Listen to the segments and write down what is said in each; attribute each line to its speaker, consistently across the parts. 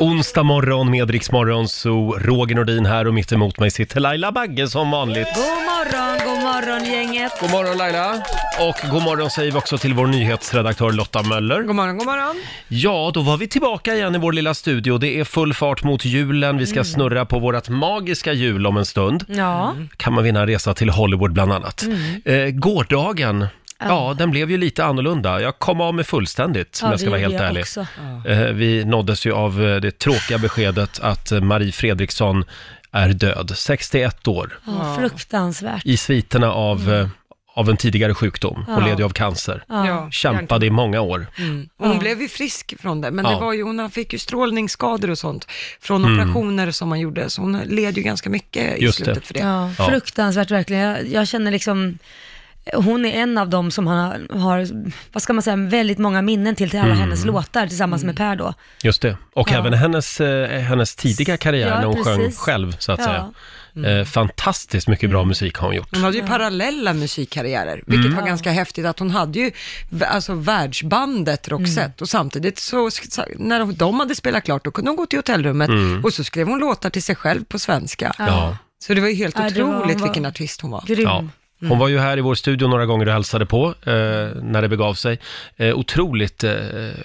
Speaker 1: Onsdag morgon med Rix Morgon, så Roger Nordin här och mitt emot mig sitter Laila Bagge som vanligt.
Speaker 2: God morgon, god morgon gänget.
Speaker 1: God morgon Laila! Och god morgon säger vi också till vår nyhetsredaktör Lotta Möller.
Speaker 3: God morgon, god morgon.
Speaker 1: Ja, då var vi tillbaka igen i vår lilla studio. Det är full fart mot julen. Vi ska snurra på vårt magiska jul om en stund.
Speaker 2: Ja,
Speaker 1: Kan man vinna en resa till Hollywood bland annat.
Speaker 2: Mm.
Speaker 1: Eh, gårdagen, ja den blev ju lite annorlunda. Jag kom av med fullständigt om
Speaker 2: ja
Speaker 1: jag ska vara helt
Speaker 2: jag
Speaker 1: ärlig.
Speaker 2: också.
Speaker 1: Eh, Vi nåddes ju av eh, det tråkiga beskedet att eh, Marie Fredriksson är död, 61 år,
Speaker 2: Ja, fruktansvärt.
Speaker 1: i sviterna av, eh, av en tidigare sjukdom. Hon
Speaker 2: Mm. Ja.
Speaker 1: led ju av cancer.
Speaker 2: Ja.
Speaker 1: Kämpade i många år.
Speaker 3: Mm. Och Hon
Speaker 2: Ja.
Speaker 3: blev ju frisk från det, men
Speaker 1: Ja. Mm.
Speaker 3: det var ju, hon fick ju strålningsskador och sånt från operationer som man gjorde, så hon led ju ganska mycket i
Speaker 1: Just det.
Speaker 3: slutet för det.
Speaker 2: Ja,
Speaker 1: Ja.
Speaker 2: fruktansvärt verkligen. Jag, jag känner liksom, hon är en av dem som har, har, vad ska man säga, väldigt många minnen till, till
Speaker 1: Mm.
Speaker 2: alla hennes låtar tillsammans med Per då.
Speaker 1: Just det. Och
Speaker 2: Ja.
Speaker 1: även hennes, eh, hennes tidiga karriär
Speaker 2: Ja,
Speaker 1: när hon sjöng
Speaker 2: precis.
Speaker 1: själv, så att
Speaker 2: Ja. Mm.
Speaker 1: säga. Eh, fantastiskt mycket bra musik har hon gjort.
Speaker 3: Hon hade ju parallella musikkarriärer, vilket
Speaker 1: Mm.
Speaker 3: var ganska häftigt att hon hade ju v- alltså, världsbandet Roxette
Speaker 2: Mm.
Speaker 3: och samtidigt så, så när de hade spelat klart då kunde hon gå till hotellrummet
Speaker 1: Mm.
Speaker 3: och så skrev hon låtar till sig själv på svenska.
Speaker 1: Ja.
Speaker 3: Så det var ju helt
Speaker 2: Ja, det var-
Speaker 3: otroligt
Speaker 2: var-
Speaker 3: vilken artist hon var.
Speaker 2: Grym.
Speaker 1: Ja.
Speaker 3: Mm.
Speaker 1: Hon var ju här i vår studio några gånger och hälsade på eh, när det begav sig. Eh, otroligt eh,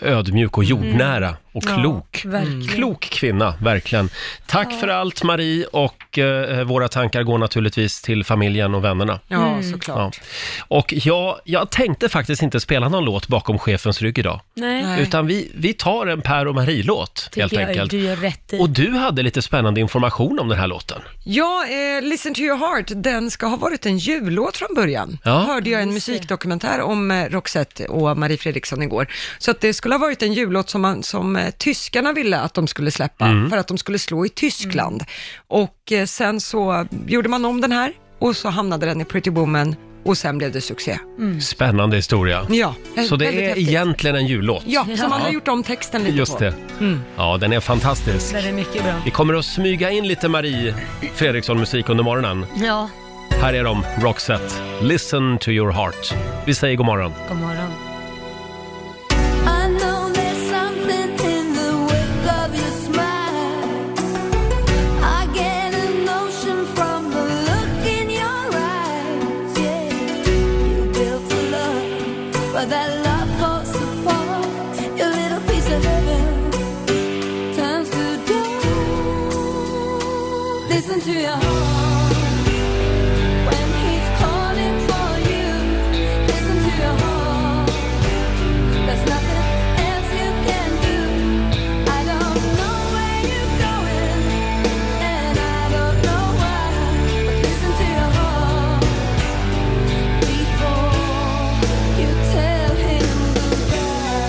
Speaker 1: ödmjuk och
Speaker 3: Mm.
Speaker 1: jordnära och
Speaker 2: Ja,
Speaker 1: klok. Mm.
Speaker 2: verkligen.
Speaker 1: klok kvinna, verkligen. Tack för allt Marie och eh, våra tankar går naturligtvis till familjen och vännerna.
Speaker 3: Ja,
Speaker 2: Mm.
Speaker 1: Ja.
Speaker 3: såklart.
Speaker 1: Och jag, jag tänkte faktiskt inte spela någon låt bakom chefens rygg idag.
Speaker 2: Nej,
Speaker 3: Nej.
Speaker 1: Utan vi, vi tar en Per och Marie-låt helt
Speaker 2: tycker jag
Speaker 1: enkelt.
Speaker 2: du gör rätt i.
Speaker 1: Och du hade lite spännande information om den här låten.
Speaker 3: Ja, eh, Listen to your heart, den ska ha varit en jullåt från början.
Speaker 1: Ja.
Speaker 3: Hörde jag en musikdokumentär om eh, Roxette och Marie Fredriksson igår. Så att det skulle ha varit en jullåt som, man, som eh, tyskarna ville att de skulle släppa,
Speaker 1: Mm.
Speaker 3: för att de skulle slå i Tyskland.
Speaker 2: Mm.
Speaker 3: Och eh, sen så gjorde man om den här och så hamnade den i Pretty Woman och sen blev det succé.
Speaker 2: Mm.
Speaker 1: Spännande historia.
Speaker 3: Mm. Ja, eh,
Speaker 1: Så det
Speaker 3: väldigt
Speaker 1: är
Speaker 3: häftigt.
Speaker 1: egentligen en jullåt.
Speaker 3: Ja, så man har
Speaker 1: Ja.
Speaker 3: gjort om texten lite
Speaker 1: Just
Speaker 3: på.
Speaker 1: det. Ja, den är fantastisk.
Speaker 2: Det är mycket bra.
Speaker 1: Vi kommer att smyga in lite Marie Fredriksson-musik under morgonen.
Speaker 2: Ja,
Speaker 1: Här är de, Roxette. Listen to your heart. Vi säger god morgon.
Speaker 2: god morgon.
Speaker 4: I know there's something in the wake of your smile. I get a notion from the look in your eyes. Yeah, you built for love, but that love falls apart. Your little piece of heaven turns to dust. Listen to your heart when he's calling for you. Listen to your heart. There's nothing else you can do. I don't know where you're going, and I don't know why. But listen to your heart before you tell him goodbye.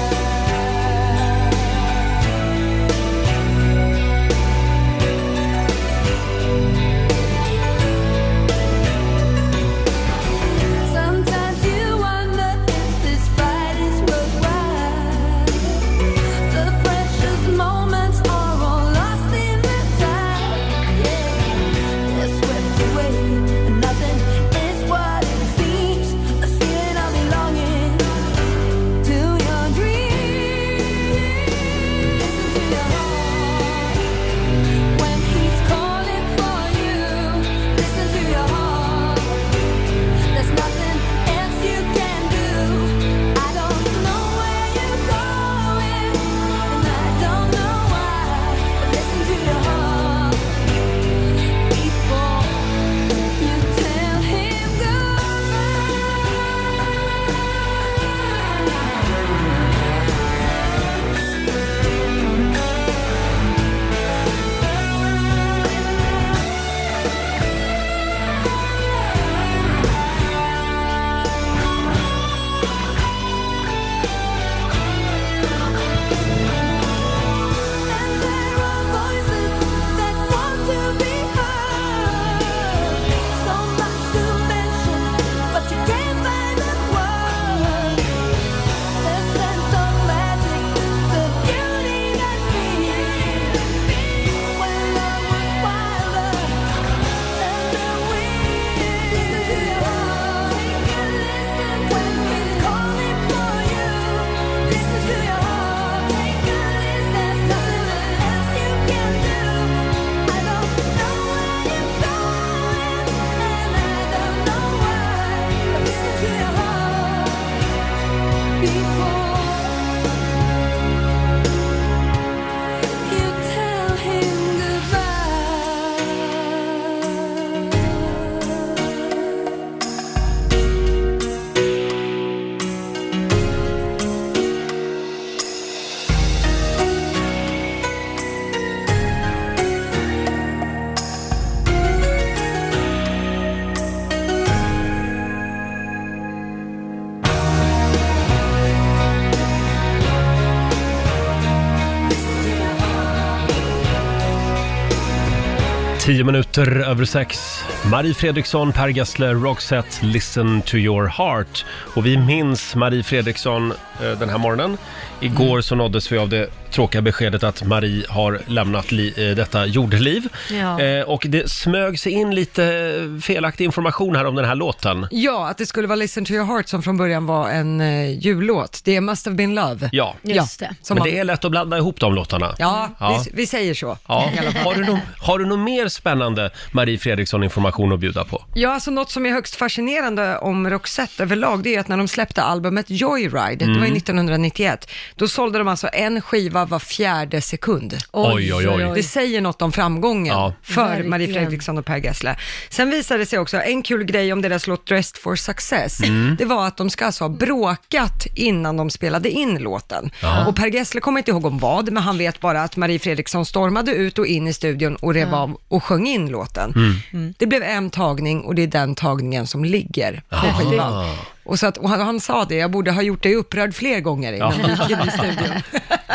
Speaker 1: Tio minuter över sex. Marie Fredriksson, Per Gessle, Roxette, Listen to your heart. Och vi minns Marie Fredriksson eh, den här morgonen. Igår så nåddes vi av det tråkiga beskedet att Marie har lämnat li- eh, detta jordliv.
Speaker 2: Ja.
Speaker 1: Eh, och det smög sig in lite eh, felaktig information här om den här låten.
Speaker 3: Ja, att det skulle vara Listen to your heart som från början var en eh, jullåt. Det är Must have been love.
Speaker 1: Ja,
Speaker 2: Just det.
Speaker 3: Som
Speaker 1: men
Speaker 3: man,
Speaker 1: det är lätt att blanda ihop de låtarna.
Speaker 3: ja,
Speaker 1: Ja.
Speaker 3: Vi, vi säger så.
Speaker 1: Ja. Har, du no- har du någon mer spännande Marie Fredriksson-information att bjuda på?
Speaker 3: Ja, alltså något som är högst fascinerande om Roxette överlag, det är att när de släppte albumet Joyride, det var ju 1991, då sålde de alltså en skiva var fjärde sekund.
Speaker 1: Oj, oj, oj.
Speaker 3: Det säger något om framgången
Speaker 1: Ja.
Speaker 3: för
Speaker 2: Verkligen.
Speaker 3: Marie Fredriksson och Per Gessle. Sen visade det sig också, en kul grej om deras låt Dressed for Success,
Speaker 1: Mm.
Speaker 3: det var att de ska alltså ha bråkat innan de spelade in låten. Och Per Gessle kommer inte ihåg om vad, men han vet bara att Marie Fredriksson stormade ut och in i studion och rev av och sjöng in låten.
Speaker 1: Mm.
Speaker 3: Det blev en tagning och det är den tagningen som ligger på
Speaker 1: Jaha.
Speaker 3: skivan. Och, så att, och han, han sa det, jag borde ha gjort dig upprörd fler gånger innan vi gick in i studion.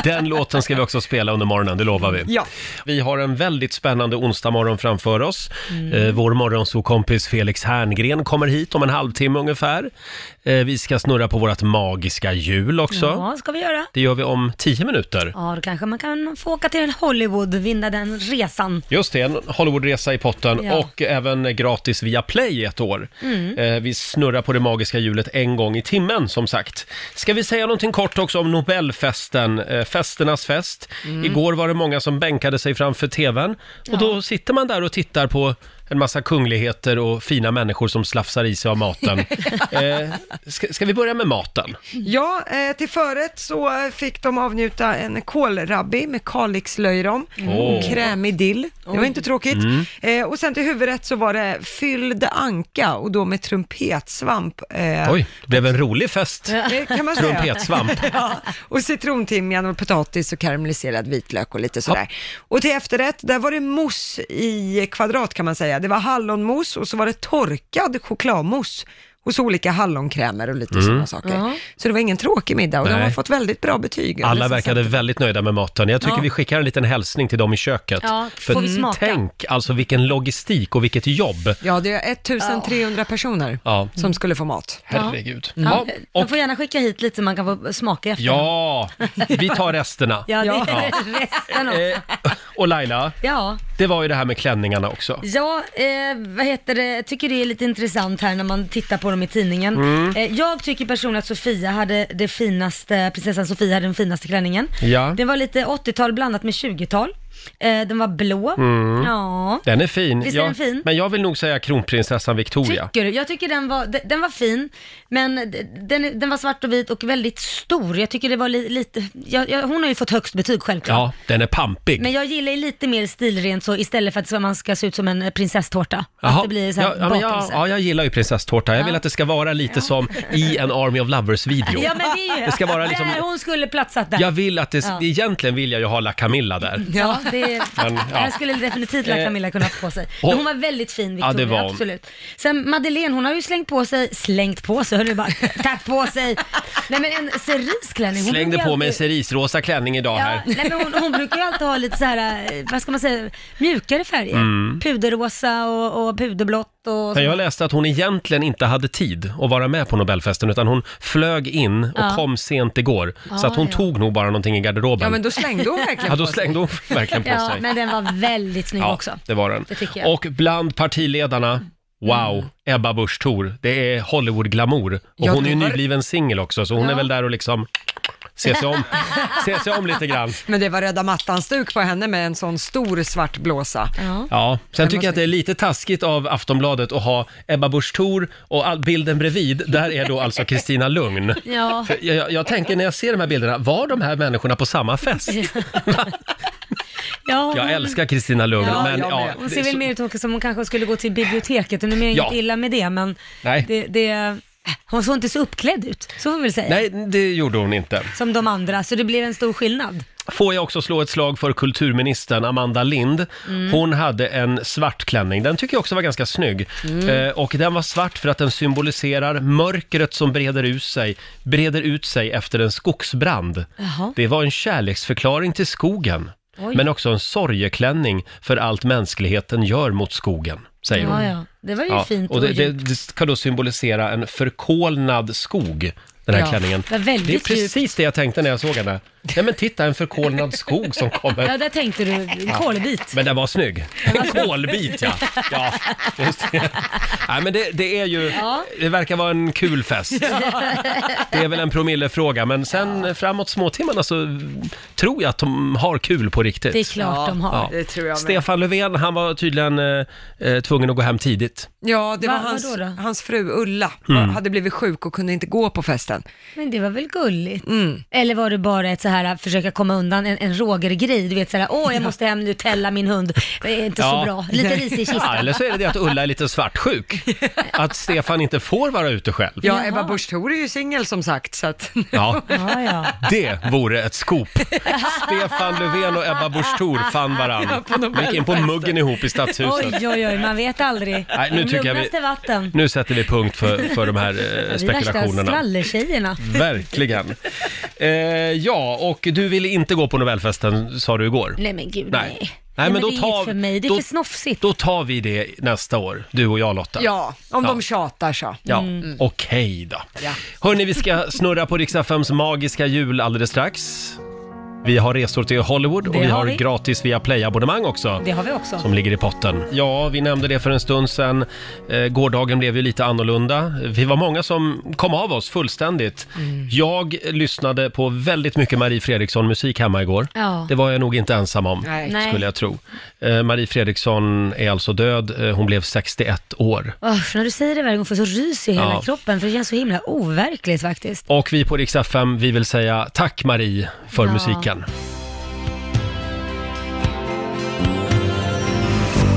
Speaker 1: Den låten ska vi också spela under morgonen, det lovar vi.
Speaker 3: Ja.
Speaker 1: Vi har en väldigt spännande onsdag morgon framför oss. Eh, vår morgonsokompis Felix Herngren kommer hit om en halvtimme ungefär. Eh, vi ska snurra på vårt magiska hjul också.
Speaker 2: Ja, ska vi göra.
Speaker 1: Det gör vi om tio minuter.
Speaker 2: Ja, då kanske man kan få åka till Hollywood, vinna den resan.
Speaker 1: Just det, en Hollywoodresa i potten
Speaker 2: Ja.
Speaker 1: och även gratis via Play ett år. Eh, vi snurrar på det magiska hjulet en gång i timmen som sagt. Ska vi säga någonting kort också om Nobelfesten, eh, festernas fest. Igår var det många som bänkade sig framför TVn och då sitter man där och tittar på en massa kungligheter och fina människor som slafsar i sig av maten. eh, ska, ska vi börja med maten?
Speaker 3: Ja, eh, till förrätt så eh, fick de avnjuta en kålrabbi med kalixlöjrom och
Speaker 1: Mm. Åh. Mm.
Speaker 3: krämig dill. Det var inte tråkigt. Eh, och sen till huvudrätt så var det fylld anka och då med trumpetsvamp. Eh,
Speaker 1: Oj, det blev en rolig fest.
Speaker 3: det kan man säga.
Speaker 1: Trumpetsvamp.
Speaker 3: Ja, och citrontimjan och potatis och karamelliserad vitlök och lite sådär. Och till efterrätt, där var det mousse i kvadrat kan man säga. Det var hallonmousse och så var det torkad chokladmousse hos olika hallonkrämer och lite sådana saker. Så det var ingen tråkig middag och de har
Speaker 1: Mm. Nej.
Speaker 3: fått väldigt bra betyg.
Speaker 1: Alla verkade väldigt nöjda med maten. Jag tycker vi skickar en liten hälsning till dem i köket. mm,
Speaker 2: Ja, får vi smaka?
Speaker 1: tänk alltså vilken logistik och vilket jobb.
Speaker 3: Ja, det är 1300 personer
Speaker 1: Ja.
Speaker 3: som skulle få mat.
Speaker 1: Herregud.
Speaker 2: Ja,
Speaker 1: Ja.
Speaker 2: Man
Speaker 1: Och,
Speaker 2: får gärna skicka hit lite så man kan få smaka efter.
Speaker 1: ja, vi tar resterna.
Speaker 2: Ja, det
Speaker 3: Ja.
Speaker 2: är resten av...
Speaker 1: Eh, och Laila,
Speaker 2: Ja,
Speaker 1: det var ju det här med klänningarna också.
Speaker 2: ja eh, vad heter det, jag tycker det är lite intressant här när man tittar på dem i tidningen. Eh, jag tycker personligen att Sofia hade det finaste, prinsessan Sofia hade den finaste klänningen.
Speaker 1: Ja.
Speaker 2: Den var lite 80-tal blandat med 20-tal. Eh, den var blå. Ja.
Speaker 1: Den är fin.
Speaker 2: Visst är
Speaker 1: Jag-
Speaker 2: den fin?
Speaker 1: Men jag vill nog säga kronprinsessan Victoria.
Speaker 2: Tycker du? Jag tycker den var, de- den var fin, men d- den, den var svart och vit och väldigt stor. Jag tycker det var li, lite, jag, jag, hon har ju fått högst betyg självklart.
Speaker 1: Ja, den är pampig.
Speaker 2: Men jag gillar ju lite mer stilrent så istället för att så man ska se ut som en eh, prinsesstårta. Att
Speaker 1: Jaha.
Speaker 2: det blir så
Speaker 1: ja,
Speaker 2: här
Speaker 1: ja, men jag,
Speaker 2: bakelse.
Speaker 1: ja, jag gillar ju prinsesstårta. Jag vill att det ska vara lite som i en Army of Lovers-video.
Speaker 2: Ja, men det är ju
Speaker 1: Det ska vara liksom-
Speaker 2: där hon skulle platsat där.
Speaker 1: Jag vill att det...
Speaker 2: Ja.
Speaker 1: Egentligen vill jag ju ha La Camilla där.
Speaker 2: Ja, det,
Speaker 1: Men, ja.
Speaker 2: det här skulle definitivt La Camilla kunna ha på sig.
Speaker 1: och-
Speaker 2: Men hon var väldigt fin Victoria,
Speaker 1: Ja, det var hon.
Speaker 2: absolut. Sen Madeleine, hon har ju slängt på sig, slängt på sig, hörru du bara, tagit på sig. Nej men en cerisklänning. hon
Speaker 1: Slängde
Speaker 2: brukar
Speaker 1: på
Speaker 2: ju
Speaker 1: mig en
Speaker 2: alltid-
Speaker 1: cerisrosa klänning idag
Speaker 2: Ja,
Speaker 1: här.
Speaker 2: nej, alltså- men hon, hon brukar ju alltid ha lite så här, eh, vad ska man säga, mjukare färger. Puderrosa och, och puderblått och
Speaker 1: Men Mm. jag läste att hon egentligen inte hade tid att vara med på Nobelfesten utan hon flög in och
Speaker 2: Ja.
Speaker 1: kom sent igår. så att hon
Speaker 2: ja.
Speaker 1: tog nog bara någonting i garderoben.
Speaker 3: Ja, men då slängde hon verkligen
Speaker 1: Ja, då
Speaker 3: på sig.
Speaker 1: slängde hon verkligen på
Speaker 2: Ja,
Speaker 1: sig.
Speaker 2: men den var väldigt snygg
Speaker 1: ja,
Speaker 2: också.
Speaker 1: det var den.
Speaker 2: Det tycker jag. Mm.
Speaker 1: Och bland partiledarna, wow, Ebba Busch Thor. Det är Hollywood-glamour. Och
Speaker 3: Ja,
Speaker 1: hon är ju
Speaker 3: det var-
Speaker 1: nybliven singel också, så hon är väl där och liksom se sig om, se sig om lite grann.
Speaker 3: Men det var röda mattan-stuk på henne med en sån stor svart blåsa.
Speaker 2: Ja.
Speaker 1: Ja, sen tycker jag att det är lite taskigt av Aftonbladet att ha Ebba Busch Thor och all bilden bredvid, där är då alltså Kristina Lugn.
Speaker 2: Ja.
Speaker 1: För jag, jag, jag tänker när jag ser de här bilderna, var de här människorna på samma fest?
Speaker 2: Ja, hon,
Speaker 1: Jag älskar Kristina Lugn,
Speaker 3: Ja,
Speaker 1: men
Speaker 3: jag
Speaker 1: ja,
Speaker 3: med.
Speaker 2: hon
Speaker 1: det-
Speaker 2: ser väl
Speaker 1: så-
Speaker 2: mer ut också som hon kanske skulle gå till biblioteket, och nu menar jag
Speaker 1: Ja.
Speaker 2: inget illa med det, men
Speaker 1: Nej.
Speaker 2: Det, det, hon såg inte så uppklädd ut, så får vi väl säga,
Speaker 1: Nej, det gjorde hon inte.
Speaker 2: som de andra, så det blir en stor skillnad.
Speaker 1: Får jag också slå ett slag för kulturministern Amanda Lind.
Speaker 2: Mm.
Speaker 1: Hon hade en svart klänning. Den tycker jag också var ganska snygg.
Speaker 2: Mm.
Speaker 1: Eh, och den var svart för att den symboliserar mörkret som breder ut sig, breder ut sig efter en skogsbrand.
Speaker 2: Jaha.
Speaker 1: Det var en kärleksförklaring till skogen.
Speaker 2: Oj.
Speaker 1: Men också en sorgeklänning för allt mänskligheten gör mot skogen, säger hon.
Speaker 2: ja, ja. Det var ju
Speaker 1: Ja,
Speaker 2: fint.
Speaker 1: och det, det,
Speaker 2: gjort.
Speaker 1: det ska då symbolisera en förkolnad skog, den här
Speaker 2: Ja,
Speaker 1: klänningen.
Speaker 2: det är väldigt
Speaker 1: det är precis det jag tänkte när jag såg henne. Nej men titta, en förkolnad skog som
Speaker 2: Ja,
Speaker 1: kommer.
Speaker 2: där tänkte du. En kolbit.
Speaker 1: Men den var snygg. En kolbit ja. ja just det. Nej, men det, det är ju,
Speaker 2: Ja.
Speaker 1: det verkar vara en kul fest. Det är väl en promillefråga, men sen framåt småtimmarna så tror jag att de har kul på riktigt.
Speaker 2: Det är klart de har.
Speaker 1: Ja.
Speaker 3: Det tror jag med.
Speaker 1: Stefan Löfven, han var tydligen eh, eh, tvungen att gå hem tidigt.
Speaker 3: Ja, det
Speaker 2: Va-
Speaker 3: var hans,
Speaker 2: vadå då?
Speaker 3: hans fru Ulla,
Speaker 1: Mm.
Speaker 3: hade blivit sjuk och kunde inte gå på festen.
Speaker 2: Men det var väl gulligt?
Speaker 1: Mm.
Speaker 2: Eller var det bara ett så här, försöka komma undan, en, en Roger-grej? Du vet så här, åh jag måste hem nu, tälla min hund. Det är inte
Speaker 1: Ja.
Speaker 2: så bra. Lite ris i
Speaker 1: Ja,
Speaker 2: kistan.
Speaker 1: eller så är det det att Ulla är lite svartsjuk. Att Stefan inte får vara ute själv.
Speaker 3: Ja,
Speaker 2: Jaha.
Speaker 3: Ebba Busch Thor är ju singel som sagt, så att...
Speaker 1: Ja,
Speaker 2: Ja, ja.
Speaker 1: det vore ett skop. Stefan Löfven och Ebba Busch Thor fann varann. De gick in på muggen ihop i Stadshuset.
Speaker 2: Oj, oj, oj, man vet aldrig.
Speaker 1: Nej, nu tycker jag vi-
Speaker 2: Lugnaste vatten.
Speaker 1: Nu sätter vi punkt för, för de här eh,
Speaker 2: Vi är värsta
Speaker 1: spekulationerna.
Speaker 2: skvallertjejerna.
Speaker 1: Verkligen. Eh, ja, och du ville inte gå på Nobelfesten sa du igår.
Speaker 2: Nej men gud,
Speaker 1: Nej.
Speaker 2: nej.
Speaker 1: Nej,
Speaker 2: Nej,
Speaker 1: men då
Speaker 2: det är
Speaker 1: tar-
Speaker 2: inget för mig, det är
Speaker 1: då-
Speaker 2: för snofsigt.
Speaker 1: Då tar vi det nästa år, du och jag Lotta.
Speaker 3: Ja, om
Speaker 1: Ja.
Speaker 3: de tjatar så.
Speaker 1: Ja,
Speaker 2: Mm.
Speaker 1: okej då.
Speaker 3: Ja.
Speaker 1: Hörni, vi ska snurra på Riksaffems magiska jul alldeles strax. Vi har resor till Hollywood och
Speaker 2: Det
Speaker 1: vi har,
Speaker 2: har vi.
Speaker 1: gratis via Play-abonnemang också.
Speaker 2: Det har vi också.
Speaker 1: Som ligger i potten. Ja, vi nämnde det för en stund sedan. Eh, gårdagen blev ju lite annorlunda. Vi var många som kom av oss fullständigt.
Speaker 2: Mm.
Speaker 1: Jag lyssnade på väldigt mycket Marie Fredriksson-musik hemma igår.
Speaker 2: Ja.
Speaker 1: Det var jag nog inte ensam om
Speaker 3: Nej.
Speaker 2: Nej.
Speaker 1: skulle jag tro. Eh, Marie Fredriksson är alltså död. Eh, Hon blev 61 år.
Speaker 2: Usch, när du säger det varje gång får jag så rys i hela
Speaker 1: Ja.
Speaker 2: kroppen för det känns så himla overkligt faktiskt.
Speaker 1: Och vi på Rix FM, vi vill säga tack Marie för
Speaker 2: Ja.
Speaker 1: musiken.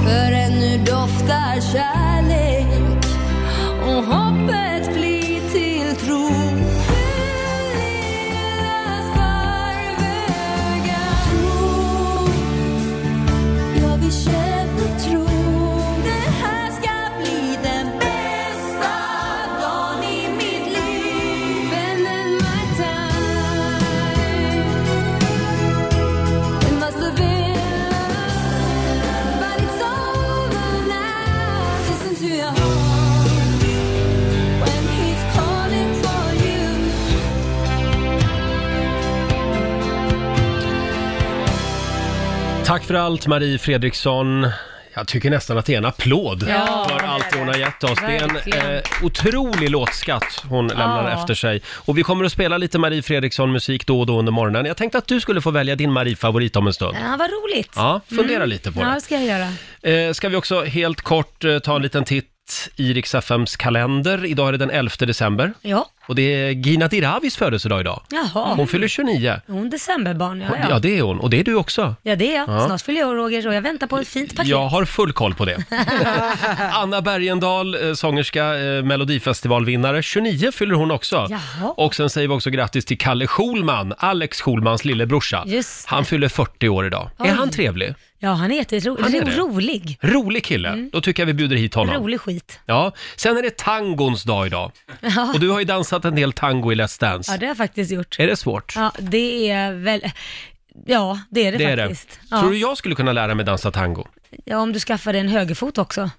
Speaker 4: För ännu doftar kärlek och hoppet blir till tro. Heligas farvägar. Tro, jag vill känna tro. Det här ska bli den bästa dagen i mitt liv. Spending my time in my Sevilla. But it's over now. Listen to your heart when he's calling for you.
Speaker 1: Tack för allt Marie Fredriksson. Jag tycker nästan att det är en applåd
Speaker 2: Ja,
Speaker 1: för allt hon har gett oss. Det är en
Speaker 2: Verkligen.
Speaker 1: eh, otrolig låtskatt hon lämnar
Speaker 2: Ja.
Speaker 1: efter sig. Och vi kommer att spela lite Marie Fredriksson-musik då och då under morgonen. Jag tänkte att du skulle få välja din Marie-favorit om en stund.
Speaker 2: Ja, vad roligt.
Speaker 1: Ja, fundera lite på
Speaker 2: Mm. Ja,
Speaker 1: det.
Speaker 2: det ska jag göra.
Speaker 1: Eh, ska vi också helt kort eh, ta en liten titt i Rix FMs kalender. Idag är det den 11 december
Speaker 2: Ja,
Speaker 1: och det är Gina Diravis födelsedag idag.
Speaker 2: jaha.
Speaker 1: Hon fyller 29.
Speaker 2: Hon decemberbarn, ja,
Speaker 1: Ja,
Speaker 2: ja.
Speaker 1: det är hon. Och det är du också.
Speaker 2: Ja, det är jag.
Speaker 1: Ja.
Speaker 2: Snart fyller jag år, Roger och jag väntar på ett fint paket.
Speaker 1: Jag har full koll på det. Anna Bergendahl, eh, sångerska, eh, melodifestivalvinnare. 29 fyller hon också.
Speaker 2: Jaha.
Speaker 1: Och sen säger vi också grattis till Kalle Schulman, Alex Schulmans lillebrorsa.
Speaker 2: Just det.
Speaker 1: Han fyller 40 år idag.
Speaker 2: Oj.
Speaker 1: Är han trevlig?
Speaker 2: Ja, han är jätterolig.
Speaker 1: Han är det.
Speaker 2: rolig.
Speaker 1: Rolig kille. Då tycker jag vi bjuder hit honom.
Speaker 2: Mm. Rolig skit.
Speaker 1: Ja, sen är det tangons dag idag. Och du har ju dansat en del tango i Let's Dance.
Speaker 2: Ja, det har jag faktiskt gjort.
Speaker 1: Är det svårt?
Speaker 2: Ja, det är väl... Ja, det är det,
Speaker 1: det är det.
Speaker 2: faktiskt. Ja.
Speaker 1: Tror du jag skulle kunna lära mig dansa tango? Mhm.
Speaker 2: ja, om du skaffar dig en högerfot också.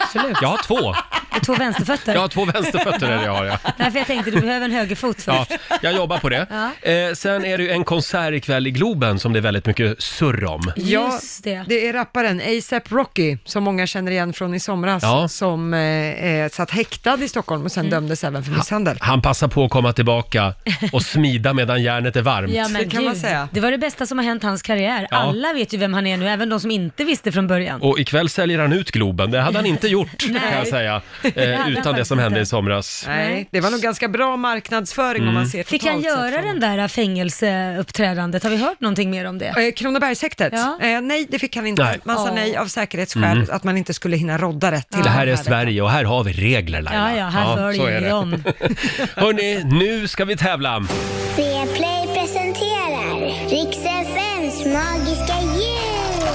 Speaker 2: Absolut.
Speaker 1: Jag har två.
Speaker 2: Och två vänsterfötter.
Speaker 1: Jag har två vänsterfötter är det jag har. Ja.
Speaker 2: Därför jag tänkte du behöver en högerfot först.
Speaker 1: Ja, jag jobbar på det.
Speaker 2: Ja.
Speaker 1: Eh, sen är det ju en konsert ikväll i Globen som det är väldigt mycket surr om.
Speaker 3: Ja,
Speaker 2: Just det.
Speaker 3: det är rapparen ASAP Rocky, som många känner igen från i somras,
Speaker 1: Ja.
Speaker 3: som eh, eh, satt häktad i Stockholm och sen
Speaker 2: Mm.
Speaker 3: dömdes även för misshandel.
Speaker 1: Han passar på att komma tillbaka och smida medan järnet är varmt.
Speaker 2: Ja, men
Speaker 3: Det kan man säga.
Speaker 2: Det var det bästa som har hänt hans karriär.
Speaker 1: Ja.
Speaker 2: Alla vet ju vem han är nu, även de som inte visste från början.
Speaker 1: Och ikväll säljer han ut Globen, det hade han inte gjort kan jag säga,
Speaker 2: hade
Speaker 1: eh,
Speaker 2: han
Speaker 1: utan det
Speaker 2: faktiskt
Speaker 1: som hände
Speaker 2: inte.
Speaker 1: i somras.
Speaker 3: Nej, det var nog ganska bra marknadsföring om
Speaker 1: Mm.
Speaker 3: man ser
Speaker 2: Fick
Speaker 3: totalt
Speaker 2: han
Speaker 3: sett
Speaker 2: göra
Speaker 3: från-
Speaker 2: den där fängelseuppträdandet? Har vi hört någonting mer om det?
Speaker 3: Eh, Kronobergshäktet?
Speaker 2: Ja.
Speaker 3: Eh, nej, det fick han inte.
Speaker 1: Nej. Mm.
Speaker 3: Man sa
Speaker 2: Åh.
Speaker 3: nej av säkerhetsskäl, att man inte skulle hinna rodda rätt till
Speaker 1: Det här är
Speaker 3: den
Speaker 1: Sverige och här har vi regler Laila.
Speaker 2: Ja, ja, här
Speaker 1: så
Speaker 2: följer
Speaker 1: är
Speaker 2: vi
Speaker 1: det.
Speaker 2: dem.
Speaker 1: Hörni, nu ska vi tävla.
Speaker 5: Play presenterar Rix FMs magiska jul!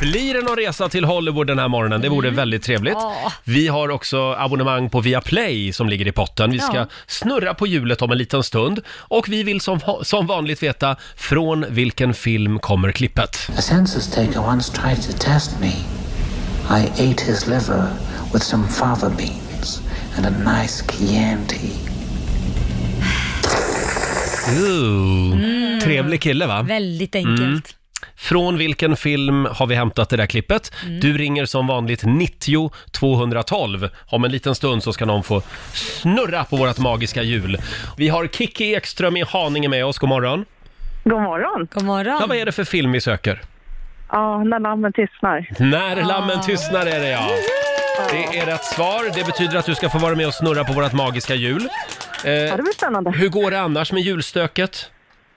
Speaker 1: Blir det någon resa till Hollywood den här morgonen? Det vore väldigt trevligt.
Speaker 2: Mm. Ja.
Speaker 1: Vi har också abonnemang på Viaplay som ligger i potten. Vi ska
Speaker 2: Ja.
Speaker 1: snurra på hjulet om en liten stund. Och vi vill som, som vanligt veta från vilken film kommer klippet?
Speaker 6: A census taker once tried to test me. I ate his liver with some fava beans and a nice Chianti.
Speaker 1: Ooh,
Speaker 2: Mm.
Speaker 1: Trevlig kille va?
Speaker 2: Väldigt enkelt.
Speaker 1: Mm. Från vilken film har vi hämtat det där klippet?
Speaker 2: Mm.
Speaker 1: Du ringer som vanligt 90 212. Om en liten stund så ska någon få snurra på vårt magiska hjul. Vi har Kiki Ekström i Haninge med oss. God morgon.
Speaker 7: God morgon.
Speaker 2: God morgon.
Speaker 1: Ja, vad är det för film vi söker?
Speaker 7: Ja, när lammen tystnar.
Speaker 1: När lammen tystnar är det ja. Det är rätt svar. Det betyder att du ska få vara med och snurra på vårt magiska hjul. Eh,
Speaker 7: Ja, det blir spännande.
Speaker 1: hur går det annars med julstöket?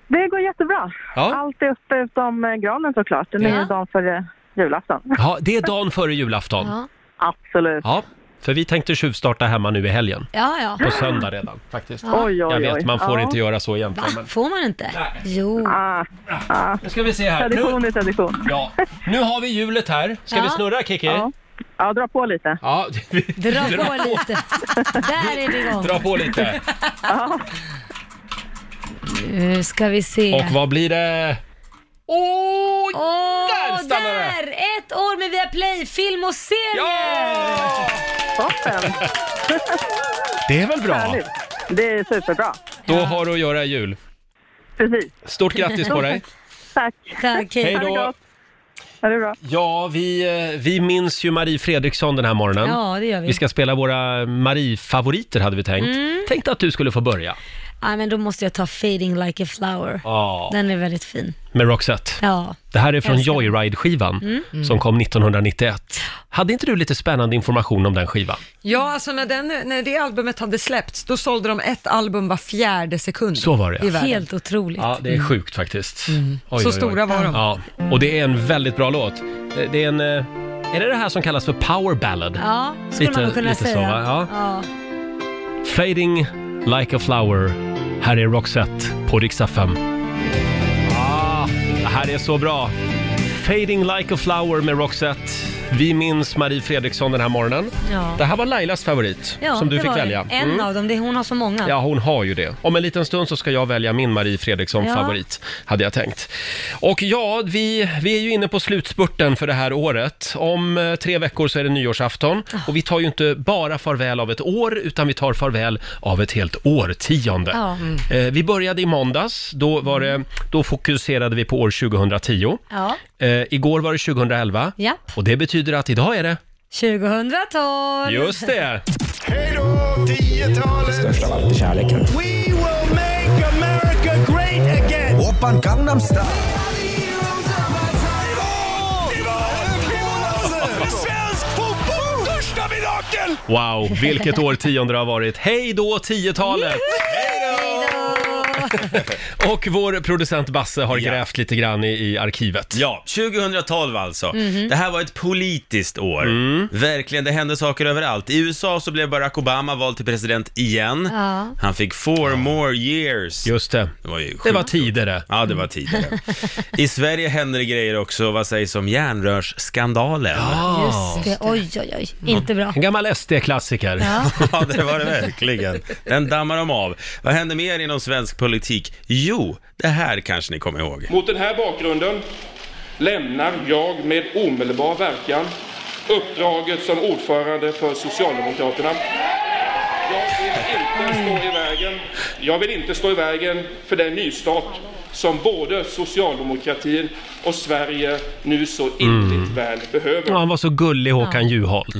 Speaker 7: Det går jättebra.
Speaker 1: Ja.
Speaker 7: Allt är uppe utom eh, granen såklart. Den är
Speaker 2: Ja.
Speaker 7: ju dagen före julafton.
Speaker 1: Ja, det är dagen före julafton.
Speaker 2: Ja,
Speaker 7: Absolut.
Speaker 1: Ja, för vi tänkte tjuvstarta hemma nu i helgen.
Speaker 2: ja. ja.
Speaker 1: På söndag redan faktiskt.
Speaker 7: Oj, oj,
Speaker 1: Jag vet,
Speaker 7: oj.
Speaker 1: man får
Speaker 7: ja.
Speaker 1: inte göra så egentligen.
Speaker 2: Va?
Speaker 1: Men...
Speaker 2: Får man inte? Jo.
Speaker 7: Ah,
Speaker 1: Nu ska vi se här. Nu,
Speaker 7: tradition är tradition.
Speaker 1: ja. nu har vi hjulet här. Ska
Speaker 2: Ja.
Speaker 1: vi snurra Kiki?
Speaker 7: Ja. Ja, dra på lite.
Speaker 1: Ja, vi
Speaker 2: Dra på lite. Där är vi igång.
Speaker 1: drar på lite.
Speaker 2: Nu ska vi se.
Speaker 1: Och vad blir det? Åh,
Speaker 2: Åh,
Speaker 1: Där
Speaker 2: där,
Speaker 1: stannar det.
Speaker 2: Ett år med Viaplay, film och serier!
Speaker 1: ja!
Speaker 7: Toppen!
Speaker 1: Det är väl bra?
Speaker 7: Härligt. Det är superbra.
Speaker 1: Då har du att göra i jul.
Speaker 7: Precis.
Speaker 1: Stort grattis på dig.
Speaker 7: Tack.
Speaker 2: Tack, hej.
Speaker 1: Hej
Speaker 7: Ha det
Speaker 1: då.
Speaker 7: gott. Ha det bra.
Speaker 1: Ja, vi, eh, vi minns ju Marie Fredriksson den här morgonen.
Speaker 2: Ja, det gör vi.
Speaker 1: Vi ska spela våra Marie-favoriter hade vi tänkt. Tänkte att du skulle få börja.
Speaker 2: Nej, men då måste jag ta Fading Like a Flower.
Speaker 1: Ja.
Speaker 2: Den är väldigt fin.
Speaker 1: Med Roxette.
Speaker 2: Ja.
Speaker 1: Det här är från
Speaker 2: Älskar
Speaker 1: Joyride-skivan
Speaker 7: Mm.
Speaker 1: som kom 1991. Hade inte du lite spännande information om den skivan?
Speaker 3: Ja, alltså när, den, när det albumet hade släppts, då sålde de ett album var fjärde sekund.
Speaker 1: Så var det.
Speaker 3: I världen.
Speaker 2: Helt otroligt.
Speaker 1: Ja, det är sjukt faktiskt. Oj,
Speaker 3: Så stora var de.
Speaker 1: Ja, och det är en väldigt bra låt. Det är en... eh, Är det det här som kallas för power ballad?
Speaker 2: Ja, skulle
Speaker 1: Lite-
Speaker 2: man kunna
Speaker 1: lite så,
Speaker 2: säga.
Speaker 1: va? Ja.
Speaker 2: Ja.
Speaker 1: Fading like a flower. Här är Roxette på Rix FM. Ah, det här är så bra. Fading like a flower med Roxette. Vi minns Marie Fredriksson den här morgonen.
Speaker 2: Ja.
Speaker 1: Det här var Lailas favorit,
Speaker 2: Ja,
Speaker 1: som du
Speaker 2: det
Speaker 1: fick
Speaker 2: var det.
Speaker 1: välja. Mm.
Speaker 2: En av dem, det är, hon har så många.
Speaker 1: Ja, hon har ju det. Om en liten stund så ska jag välja min Marie Fredriksson-favorit, hade jag tänkt. Och ja, vi, vi är ju inne på slutspurten för det här året. Om eh, tre veckor så är det nyårsafton och vi tar ju inte bara farväl av ett år, utan vi tar farväl av ett helt årtionde.
Speaker 2: Ja.
Speaker 1: Eh, Vi började i måndags, då, var det, då fokuserade vi på år 2010.
Speaker 2: Ja.
Speaker 1: Eh, igår var det 2011
Speaker 2: Japp.
Speaker 1: och det betyder att idag är det...
Speaker 2: 2012!
Speaker 1: Just det!
Speaker 8: Hej då, 10-talet! Störst av allt är kärleken. We will make America great again! Oppan Gangnam style. Svensk fotbolls största mirakel!
Speaker 1: Wow, vilket årtionde det har varit. Hej då 10-talet! Och vår producent Basse har
Speaker 9: Ja.
Speaker 1: grävt lite grann i, i arkivet.
Speaker 9: Ja, 2012 alltså.
Speaker 1: Mhm.
Speaker 9: Det här var ett politiskt år.
Speaker 1: Mm.
Speaker 9: Verkligen, det hände saker överallt. I USA så blev Barack Obama vald till president igen.
Speaker 2: Ja.
Speaker 9: Han fick four more years.
Speaker 1: Just det.
Speaker 9: Det var ju sjukt.
Speaker 1: Det var tider det.
Speaker 9: Ja, det var tidigare. I Sverige händer det grejer också. Vad sägs om järnrörsskandalen? Ja.
Speaker 2: Just det. Oj, oj, oj. Inte bra.
Speaker 1: En gammal SD-klassiker.
Speaker 2: Ja.
Speaker 9: det var det verkligen. Den dammar de av. Vad händer mer inom svensk politik? Jo, det här kanske ni kommer ihåg.
Speaker 10: Mot den här bakgrunden lämnar jag med omedelbar verkan uppdraget som ordförande för Socialdemokraterna. Jag vill inte stå i vägen. Jag vill inte stå i vägen för den nystart som både socialdemokratin och Sverige nu så
Speaker 11: Mm.
Speaker 10: innerligt väl behöver.
Speaker 1: Ja, han var så gullig Håkan Juholt.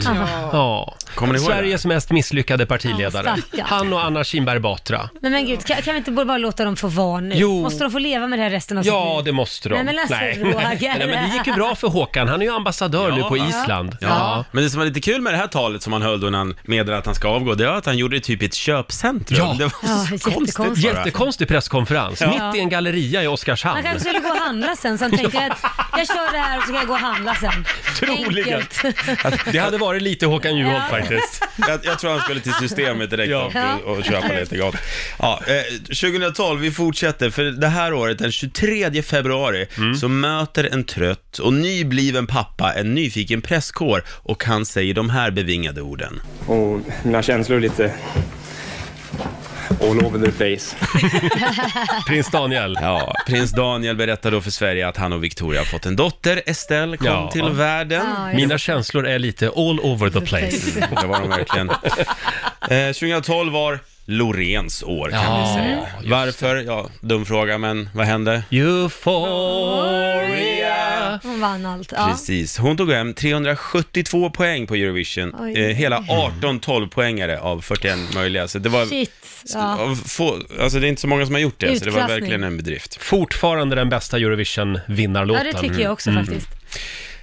Speaker 1: Ja.
Speaker 9: Kommer ni ihåg
Speaker 1: Sveriges mest misslyckade partiledare.
Speaker 2: Ja, stackarn.
Speaker 1: Han och Anna Kinberg Batra.
Speaker 2: Men, men gud, kan, kan vi inte bara bara låta dem få vara nu?
Speaker 1: Jo.
Speaker 2: Måste de få leva med det här resten av
Speaker 1: Ja,
Speaker 2: sitt
Speaker 1: det
Speaker 2: liv?
Speaker 1: måste de.
Speaker 2: Nej, men alltså, Roger.
Speaker 1: Nej, men det gick ju bra för Håkan. Han är ju ambassadör nu på
Speaker 9: Ja.
Speaker 1: Island.
Speaker 9: Ja. men det som var lite kul med det här talet som han höll då när han meddelade att han ska avgå, det var att han gjorde det typ i ett köpcentrum.
Speaker 1: Ja.
Speaker 9: Det var
Speaker 2: Ja,
Speaker 9: så
Speaker 2: jättekonstigt.
Speaker 9: konstigt bara.
Speaker 1: Jättekonstig presskonferens, mitt i en pizzeria i Oskarshamn.
Speaker 2: Han kanske skulle gå och handla sen, så han tänkte jag att jag kör det här och så kan jag gå och handla sen.
Speaker 1: Troligen.
Speaker 2: Enkelt.
Speaker 1: Det hade varit lite Håkan Juholt
Speaker 2: Ja.
Speaker 1: faktiskt.
Speaker 9: Jag, jag tror han skulle till systemet direkt
Speaker 2: Ja.
Speaker 9: och, och köpa lite gott. Ja, eh, 2012, vi fortsätter, för det här året, den 23 februari,
Speaker 1: Mm.
Speaker 9: så möter en trött och nybliven pappa en nyfiken presskår och han säger de här bevingade orden.
Speaker 12: Och mina känslor är lite all over the place.
Speaker 1: prins Daniel.
Speaker 9: Ja, prins Daniel berättar då för Sverige att han och Victoria har fått en dotter, Estelle, kom
Speaker 1: Ja.
Speaker 9: till världen.
Speaker 2: Ja, just Mina det.
Speaker 1: känslor är lite all over the
Speaker 2: place.
Speaker 9: Mm, det var de verkligen. Eh, 2012 var Lorens år kan vi
Speaker 1: Ja,
Speaker 9: säga. Varför? Ja, dum fråga, men vad hände?
Speaker 1: Euphoria.
Speaker 2: Hon vann allt. Ja.
Speaker 9: Precis. Hon tog hem 372 poäng på Eurovision.
Speaker 2: Oj.
Speaker 9: Eh, hela 18 12-poängare av 41 möjliga. Så det var...
Speaker 2: Shit. Ja.
Speaker 9: av Få, alltså det är inte så många som har gjort det, så det var
Speaker 2: Utklassning.
Speaker 9: verkligen en bedrift.
Speaker 1: Fortfarande den bästa Eurovision-vinnarlåten.
Speaker 2: ja, det tycker jag också faktiskt.
Speaker 1: Mm.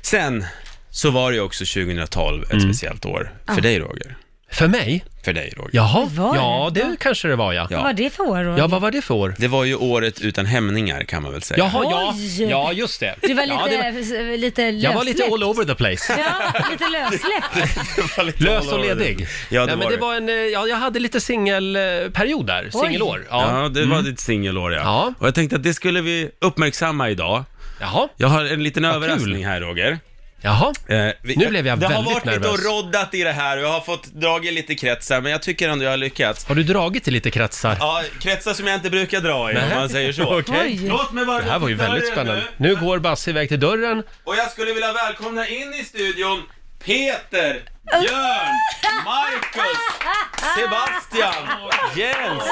Speaker 9: Sen så var det ju också 2012 ett
Speaker 1: Mm.
Speaker 9: speciellt år för
Speaker 2: Ja.
Speaker 9: dig Roger.
Speaker 1: För mig?
Speaker 9: För dig Roger.
Speaker 1: Jaha,
Speaker 2: var det?
Speaker 1: ja det kanske det var ja.
Speaker 2: Vad var det för år? Roger?
Speaker 1: Ja, vad var det för år?
Speaker 9: Det var ju året utan hämningar kan man väl säga.
Speaker 1: Jaha, ja,
Speaker 2: Oj.
Speaker 1: ja just det.
Speaker 2: Du var
Speaker 1: ja,
Speaker 2: lite,
Speaker 1: det var-
Speaker 2: lite lössläppt.
Speaker 1: jag var lite all over the place.
Speaker 2: Ja, lite lössläppt.
Speaker 9: Det var lite
Speaker 1: Lös
Speaker 9: all
Speaker 1: och
Speaker 9: over the-
Speaker 1: ledig.
Speaker 9: Ja, det
Speaker 1: Nej,
Speaker 9: var
Speaker 1: men det
Speaker 9: det.
Speaker 1: var en, eh, ja, jag hade lite singelperiod där,
Speaker 2: Oj.
Speaker 1: singelår. Ja. Mm.
Speaker 9: Ja, det var ditt singelår ja.
Speaker 1: Ja.
Speaker 9: Och jag tänkte att det skulle vi uppmärksamma idag.
Speaker 1: Jaha,
Speaker 9: Jag har en liten
Speaker 1: kul.
Speaker 9: överraskning här Roger.
Speaker 1: jaha.
Speaker 9: Eh, vi-
Speaker 1: Nu blev jag
Speaker 9: Det har
Speaker 1: väldigt
Speaker 9: varit
Speaker 1: nervös.
Speaker 9: lite och roddat i det här och jag har fått dragit lite kretsar, men jag tycker ändå jag har lyckats.
Speaker 1: Har du dragit i lite kretsar?
Speaker 9: Ja, kretsar som jag inte brukar dra i om man säger så.
Speaker 1: Okej.
Speaker 2: Oj.
Speaker 9: Låt mig bara
Speaker 1: Det här var ju
Speaker 9: gå till
Speaker 1: väldigt
Speaker 9: dörren
Speaker 1: spännande. Nu går Basse iväg till dörren.
Speaker 9: Och jag skulle vilja välkomna in i studion Peter, Björn, Marcus, Sebastian, Jens,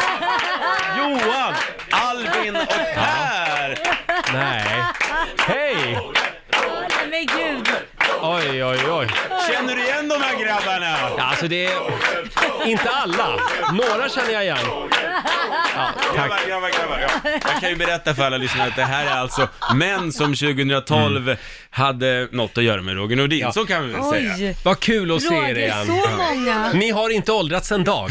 Speaker 9: Johan, Albin och Per!
Speaker 1: Nej. Hej!
Speaker 2: Nej, Men gud.
Speaker 1: Oj, oj, oj.
Speaker 9: Känner du igen de här grabbarna?
Speaker 1: Ja, alltså det är... Inte alla. Några känner jag igen.
Speaker 9: Grabbar, grabbar, grabbar. Ja. Jag kan ju berätta för alla lyssnare att det här är alltså män som 2012
Speaker 1: Mm.
Speaker 9: hade något att göra med Roger Nordin, så kan vi väl säga.
Speaker 2: Oj.
Speaker 1: Vad kul att se er
Speaker 2: Roger,
Speaker 1: igen.
Speaker 2: så många.
Speaker 1: Ni har inte åldrats en dag.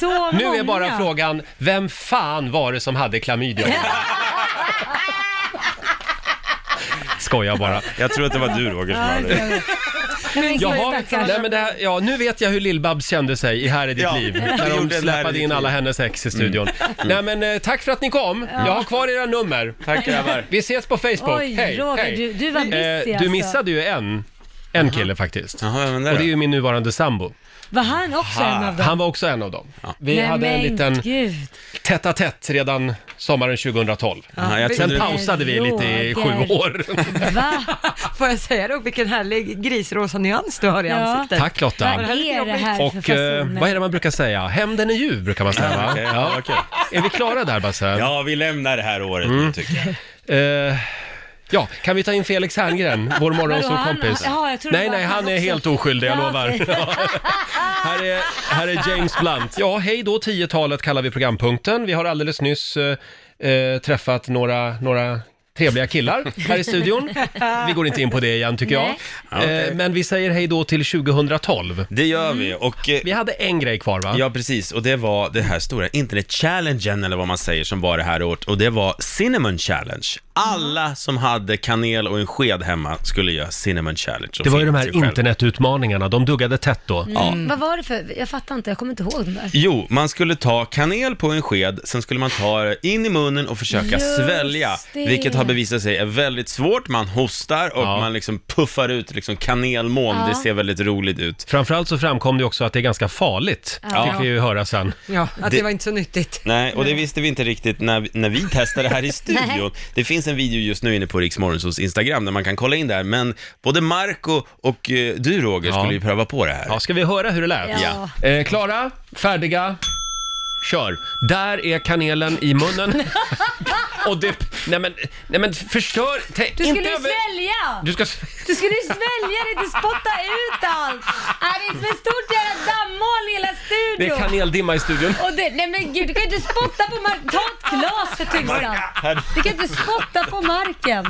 Speaker 2: Så
Speaker 1: Nu
Speaker 2: många.
Speaker 1: är bara frågan, vem fan var det som hade klamydia? Skojar bara.
Speaker 9: Jag tror att det var du Roger som
Speaker 2: Ja,
Speaker 9: hade
Speaker 2: det
Speaker 9: det.
Speaker 2: gör vi. Men gud,
Speaker 1: Jaha,
Speaker 2: stackars.
Speaker 1: nej, men det här, ja, nu vet jag hur Lill-Babs kände sig i Här är ditt
Speaker 9: Ja,
Speaker 1: liv.
Speaker 9: vi
Speaker 1: När
Speaker 9: gjorde
Speaker 1: de
Speaker 9: en Här är
Speaker 1: släpade
Speaker 9: ditt
Speaker 1: in alla
Speaker 9: liv. Mm.
Speaker 1: hennes ex i studion. Nej men eh, tack för att ni kom. Jag har kvar era nummer. Tack grabbar. Vi ses på Facebook.
Speaker 2: Oj,
Speaker 1: hej,
Speaker 2: Roger,
Speaker 1: hej.
Speaker 2: du- du var busy,
Speaker 1: eh, Du
Speaker 2: alltså.
Speaker 1: missade ju en. En kille faktiskt.
Speaker 9: Jaha, men
Speaker 1: Och
Speaker 9: där
Speaker 1: det är
Speaker 9: då.
Speaker 1: ju min nuvarande sambo.
Speaker 2: Var han också en av dem?
Speaker 1: Han var också en av dem. Vi
Speaker 2: Nej,
Speaker 1: hade en
Speaker 2: men
Speaker 1: liten
Speaker 2: gud.
Speaker 1: tätt tätt redan sommaren 2012.
Speaker 9: Ja, jag
Speaker 1: Sen
Speaker 9: trodde-
Speaker 1: pausade vi lite i sju år.
Speaker 2: Va?
Speaker 3: Får jag säga då, vilken härlig grisrosa nyans du har i
Speaker 2: Ja.
Speaker 3: ansiktet.
Speaker 1: Tack Lotta.
Speaker 2: Vad är det här för
Speaker 1: Och eh,
Speaker 2: fasoner?
Speaker 1: vad är det man brukar säga? Hämnden är ljuv brukar man säga va?
Speaker 9: Okej,
Speaker 1: Ja.
Speaker 9: okej.
Speaker 1: Är vi klara där Basse?
Speaker 9: Ja, vi lämnar det här året
Speaker 1: Mm.
Speaker 9: nu tycker jag.
Speaker 1: Eh, ja, kan vi ta in Felix Herngren, vår morgonsåkompis?
Speaker 2: Vadå, han- jaha, jag trodde
Speaker 1: Nej,
Speaker 2: det var
Speaker 1: nej,
Speaker 2: han
Speaker 1: han är
Speaker 2: också.
Speaker 1: helt oskyldig, jag
Speaker 2: Ja,
Speaker 1: lovar.
Speaker 2: okej.
Speaker 1: Ja. här, är, här är James Blunt. Ja, hej då, 10-talet kallar vi programpunkten. Vi har alldeles nyss eh, eh, träffat några, några trevliga killar här i studion. Vi går inte in på det igen tycker
Speaker 2: Nej.
Speaker 1: jag. Eh, men vi säger hej då till 2012.
Speaker 9: Det gör vi
Speaker 1: Mm.
Speaker 9: och eh,
Speaker 1: Vi hade en grej kvar va?
Speaker 9: Ja, precis. Och det var det här stora internet-challengen, eller vad man säger, som var det här året. Och det var Cinnamon Challenge. Alla som hade kanel och en sked hemma skulle göra Cinnamon Challenge. och
Speaker 1: Det var ju
Speaker 9: filma
Speaker 1: de
Speaker 9: sig
Speaker 1: här
Speaker 9: själv.
Speaker 1: internetutmaningarna, de duggade tätt då.
Speaker 2: Mm. Vad var det för? Jag fattar inte, jag kommer inte ihåg den där.
Speaker 9: Jo, man skulle ta kanel på en sked, sen skulle man ta det in i munnen och försöka
Speaker 2: Just
Speaker 9: svälja,
Speaker 2: det.
Speaker 9: vilket har bevisat sig är väldigt svårt. Man hostar och
Speaker 1: Ja.
Speaker 9: man liksom puffar ut liksom kanelmoln.
Speaker 2: Ja.
Speaker 9: Det ser väldigt roligt ut.
Speaker 1: Framförallt så framkom det också att det är ganska farligt,
Speaker 2: Ja.
Speaker 1: fick vi ju höra sen.
Speaker 3: Ja, att det...
Speaker 9: Det-
Speaker 3: var inte så nyttigt.
Speaker 9: Nej, och det visste vi inte riktigt när, när vi testade här i studion. det finns en video just nu inne på Riksmorgonsos Instagram där man kan kolla in där, men både Marco och eh, du Roger
Speaker 1: Ja.
Speaker 9: skulle ju pröva på det här.
Speaker 1: Ja, ska vi höra hur det lät?
Speaker 2: Ja.
Speaker 1: Eh, klara, färdiga, kör. Där är kanelen i munnen. Och det... Nej men, nej men förstör... Tänk,
Speaker 2: Du skulle
Speaker 1: inte
Speaker 2: ju
Speaker 1: över-
Speaker 2: svälja!
Speaker 1: Du ska...
Speaker 2: Du skulle ju svälja det, inte spotta ut allt! Ah, det är som ett stort jävla dammoln i hela
Speaker 1: Det är
Speaker 2: studion!
Speaker 1: kaneldimma i studion.
Speaker 2: Och det, nej men gud, du kan ju inte spotta på marken! Ta ett glas för tusan! Du kan inte spotta på marken!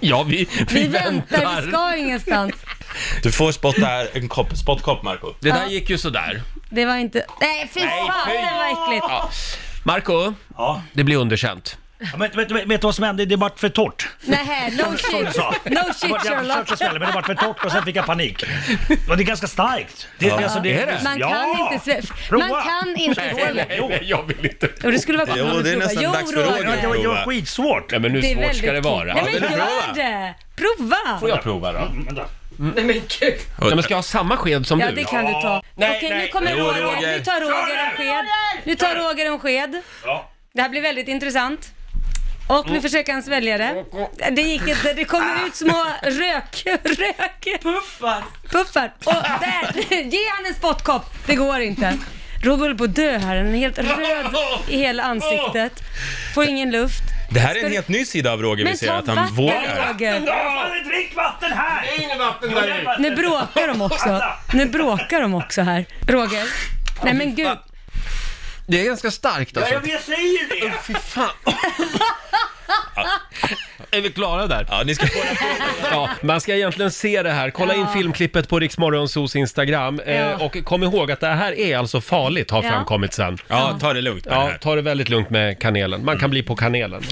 Speaker 1: Ja, vi, vi,
Speaker 2: Vi
Speaker 1: väntar.
Speaker 2: väntar, vi ska ingenstans!
Speaker 9: Du får spotta en kopp, spottkopp Marco.
Speaker 1: Det där gick ju sådär.
Speaker 2: Det var inte... Nej, fy fasen vad äckligt.
Speaker 1: Ja. Marco, det blir underkänt.
Speaker 11: Ja, men, vet, vet, vet du vad som hände? Det vart för torrt.
Speaker 2: Nej, no
Speaker 11: Som- som du
Speaker 2: shit.
Speaker 11: sa.
Speaker 2: No
Speaker 11: Jag
Speaker 2: shit
Speaker 11: vart- Jag
Speaker 2: Sherlock.
Speaker 11: försökte smälla men det vart för torrt och sen fick jag panik. Och det är ganska starkt. Det,
Speaker 2: Ja.
Speaker 11: alltså, det,
Speaker 2: Man
Speaker 11: ja.
Speaker 2: kan inte svälja.
Speaker 11: Prova!
Speaker 2: Man kan inte svälja.
Speaker 1: jag vill inte.
Speaker 2: Jo, det skulle vara kul Jo, om du det är nästan provar. dags Jo, för Roger. Roger.
Speaker 11: Det var- det var skitsvårt.
Speaker 1: Nej, men hur
Speaker 2: Det är
Speaker 1: svårt
Speaker 2: väldigt
Speaker 1: ska det vara?
Speaker 2: Nej men gör det! Prova!
Speaker 1: Får jag prova då?
Speaker 2: Nej men gud!
Speaker 1: Nej, men ska jag ha samma sked som
Speaker 2: ja
Speaker 1: du?
Speaker 2: det kan du ta.
Speaker 1: Nej,
Speaker 2: Okej
Speaker 1: nej.
Speaker 2: nu kommer
Speaker 1: Jo,
Speaker 2: Roger.
Speaker 1: Roger.
Speaker 2: Nu tar Roger en sked. Nu tar Roger en sked.
Speaker 11: Ja.
Speaker 2: Det här blir väldigt intressant. Och nu
Speaker 11: Mm.
Speaker 2: försöker han svälja det. Det gick inte. Det kommer ut små rök... rök. Puffar. Puffar. Och där! Ge han en spottkopp. Det går inte. Roger håller på att dö här. Han är helt röd i hela ansiktet. Får ingen luft.
Speaker 9: Det här är
Speaker 2: Ska
Speaker 9: en
Speaker 2: du-
Speaker 9: helt ny sida av Roger vi
Speaker 2: Men
Speaker 9: ser,
Speaker 2: ta
Speaker 9: att han
Speaker 2: vatten,
Speaker 9: vågar.
Speaker 2: Roger.
Speaker 11: Drick vatten här! Det är inget vatten där
Speaker 2: Nu bråkar de också. Nu bråkar de också här. Roger. Nej men gud.
Speaker 1: Det är ganska starkt alltså.
Speaker 11: jag säger det!
Speaker 1: fy fan. Är vi klara där?
Speaker 9: Ja, ni ska
Speaker 1: ja, man ska egentligen se det här. Kolla in
Speaker 2: Ja.
Speaker 1: filmklippet på Riksmorgonsos Instagram. Eh,
Speaker 2: Ja.
Speaker 1: Och kom ihåg att det här är alltså farligt, har
Speaker 2: Ja.
Speaker 1: framkommit sen.
Speaker 9: Ja, ta det lugnt med det
Speaker 1: Ja,
Speaker 9: här.
Speaker 1: ta det väldigt lugnt med kanelen. Man kan bli på kanelen.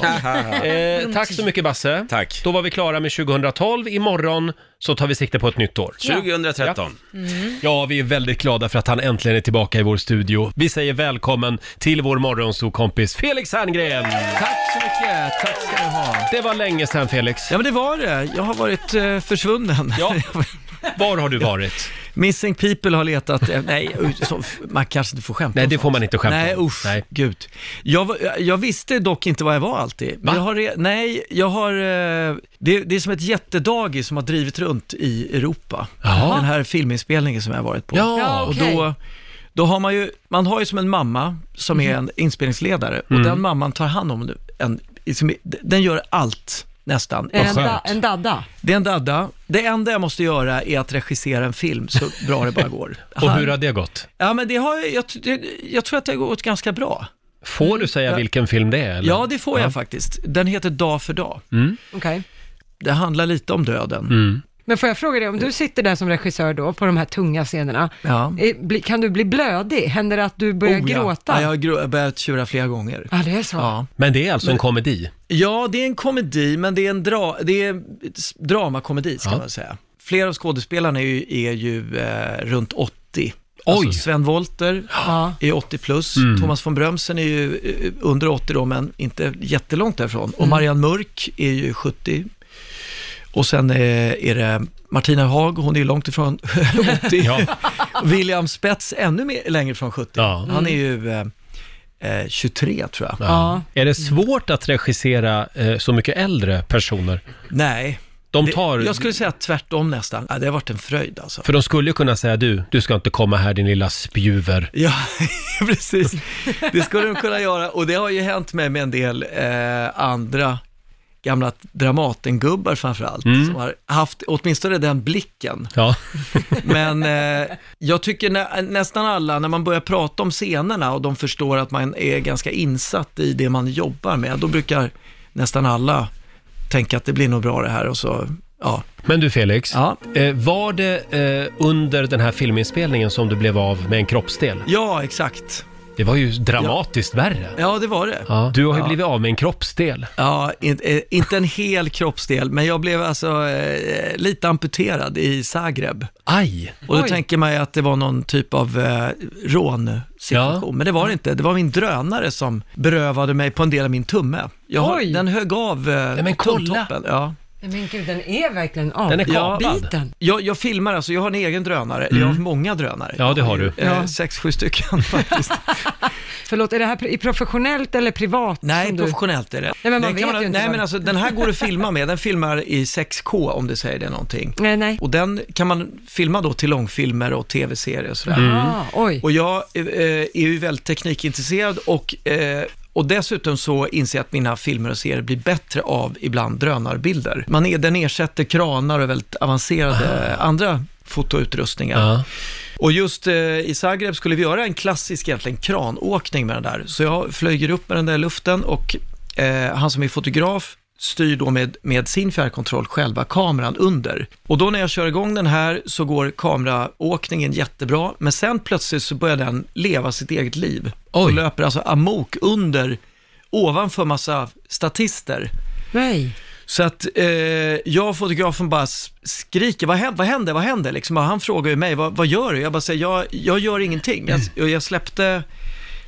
Speaker 1: eh, tack så mycket Basse. Tack. Då var vi klara med 2012. Imorgon så tar vi sikte på ett nytt år.
Speaker 9: 2013.
Speaker 1: Ja. Ja, vi är väldigt glada för att han äntligen är tillbaka i vår studio. Vi säger välkommen till vår morgonsokompis Felix Herngren!
Speaker 13: Tack så mycket, tack ska du ha.
Speaker 1: Det var länge sedan Felix.
Speaker 13: Ja men det var det, jag har varit eh, försvunnen.
Speaker 1: Ja. Var har du varit?
Speaker 13: Missing People har letat, eh, nej uj, så, man kanske inte får skämta
Speaker 1: Nej,
Speaker 13: om
Speaker 1: det
Speaker 13: sånt.
Speaker 1: får man inte skämta
Speaker 13: Nej
Speaker 1: om.
Speaker 13: usch, gud. Jag, var- jag visste dock inte vad jag var alltid. Men jag har, re- nej, jag har, eh, det, det är som ett jättedagis som har drivit runt i Europa.
Speaker 1: Jaha.
Speaker 13: Den här filminspelningen som jag har varit på.
Speaker 1: Ja, Ja,
Speaker 13: Och
Speaker 1: okej.
Speaker 13: då, då har man ju, man har ju som en mamma som är en inspelningsledare och
Speaker 1: Mm.
Speaker 13: den mamman tar hand om en, som- den gör allt nästan.
Speaker 3: Är det en, da, en dadda?
Speaker 13: Det är en dadda. Det enda jag måste göra är att regissera en film så bra det bara går.
Speaker 1: Och hur har det gått?
Speaker 13: Ja, men det har jag, jag, det- jag tror att det har gått ganska bra.
Speaker 1: Får du säga
Speaker 13: Ja.
Speaker 1: vilken film det är? Eller?
Speaker 13: Ja, det får jag faktiskt. Den heter Dag för dag.
Speaker 1: Mm.
Speaker 3: Okej.
Speaker 13: Det handlar lite om döden.
Speaker 3: Men får jag fråga dig, om du sitter där som regissör då, på de här tunga scenerna,
Speaker 13: Ja.
Speaker 3: eh, bli- kan du bli blödig? Händer det att du börjar
Speaker 13: Oh, ja.
Speaker 3: gråta?
Speaker 13: Ja, jag har grå- jag har börjat tjura flera gånger.
Speaker 3: Ja, det är så.
Speaker 13: Ja.
Speaker 1: Men det är alltså en
Speaker 13: Men-
Speaker 1: komedi?
Speaker 13: Ja, det är en komedi, men det är en dra det är s- dramakomedi, ska
Speaker 1: Ja.
Speaker 13: man säga. Flera av skådespelarna är ju, är ju eh, runt 80. Alltså Sven Wollter är 80 plus,
Speaker 1: Mm.
Speaker 13: Thomas von Brömsen är ju eh, under 80 då, men inte jättelångt därifrån. Och
Speaker 1: Mm.
Speaker 13: Marianne Mörk är ju 70. Och sen eh, är det Martina Haag, hon är ju långt ifrån 80. William Spets ännu mer, längre från 70. Han är ju eh, eh, 23 tror jag.
Speaker 1: Ja. Är det svårt att regissera eh, så mycket äldre personer?
Speaker 13: Nej.
Speaker 1: De tar-
Speaker 13: det, jag skulle säga tvärtom nästan. Ja, det har varit en fröjd alltså.
Speaker 1: För de skulle ju kunna säga du, du ska inte komma här din lilla spjuver.
Speaker 13: Ja, precis. Det skulle de kunna göra och det har ju hänt mig med en del eh, andra gamla Dramatengubbar framförallt,
Speaker 1: Mm.
Speaker 13: som har haft åtminstone den blicken.
Speaker 1: Ja.
Speaker 13: Men eh, jag tycker nä, nästan alla, när man börjar prata om scenerna och de förstår att man är ganska insatt i det man jobbar med, då brukar nästan alla tänka att det blir nog bra det här och så, ja.
Speaker 1: Men du Felix, eh, var det eh, under den här filminspelningen som du blev av med en kroppsdel?
Speaker 13: Ja, exakt.
Speaker 1: Det var ju dramatiskt värre.
Speaker 13: Ja, det var det.
Speaker 1: Ja. Du har ju
Speaker 13: Ja.
Speaker 1: blivit av med en kroppsdel.
Speaker 13: Ja, in, eh, inte en hel kroppsdel, men jag blev alltså eh, lite amputerad i Zagreb.
Speaker 1: Aj!
Speaker 13: Och då
Speaker 1: Oj.
Speaker 13: tänker man ju att det var någon typ av eh, rånsituation, men det var det inte. Det var min drönare som berövade mig på en del av min tumme. Jag har,
Speaker 3: Oj.
Speaker 13: den högg av eh,
Speaker 3: men kolla.
Speaker 13: tumtoppen. Ja.
Speaker 3: Nej, Men gud, den är verkligen av. Biten.
Speaker 13: Jag, jag filmar alltså, jag har en egen drönare. Jag har
Speaker 1: Mm.
Speaker 13: många drönare.
Speaker 1: Ja, det har du.
Speaker 13: Eh,
Speaker 1: Ja.
Speaker 13: Sex, sju stycken.
Speaker 3: Förlåt, är det här pr- i professionellt eller privat?
Speaker 13: Nej,
Speaker 3: som du-
Speaker 13: professionellt är det.
Speaker 3: Nej, men man
Speaker 13: Den kan
Speaker 3: vet ju inte
Speaker 13: nej,
Speaker 3: vad-
Speaker 13: men alltså den här går att filma med. Den filmar i 6K om det säger det någonting.
Speaker 3: Nej, nej.
Speaker 13: Och den kan man filma då till långfilmer och tv-serier och sådär.
Speaker 3: Mm. Ah, oj.
Speaker 13: Och jag eh, är ju väldigt teknikintresserad och, eh, och dessutom så inser jag att mina filmer och serier blir bättre av ibland drönarbilder. Man är, den ersätter kranar och väldigt avancerade andra fotoutrustningar. Och just eh, i Zagreb skulle vi göra en klassisk egentligen kranåkning med den där. Så jag flög upp med den där i luften och eh, han som är fotograf styr då med, med sin fjärrkontroll själva kameran under. Och då när jag kör igång den här så går kameraåkningen jättebra, men sen plötsligt så börjar den leva sitt eget liv. Och löper alltså amok under, ovanför massa statister.
Speaker 3: Nej.
Speaker 13: Så att eh, jag och fotografen bara s- skriker, vad händer, vad händer, vad händer? Liksom, och han frågar ju mig, vad, vad gör du? Jag bara säger, jag, jag gör ingenting. Jag, och jag släppte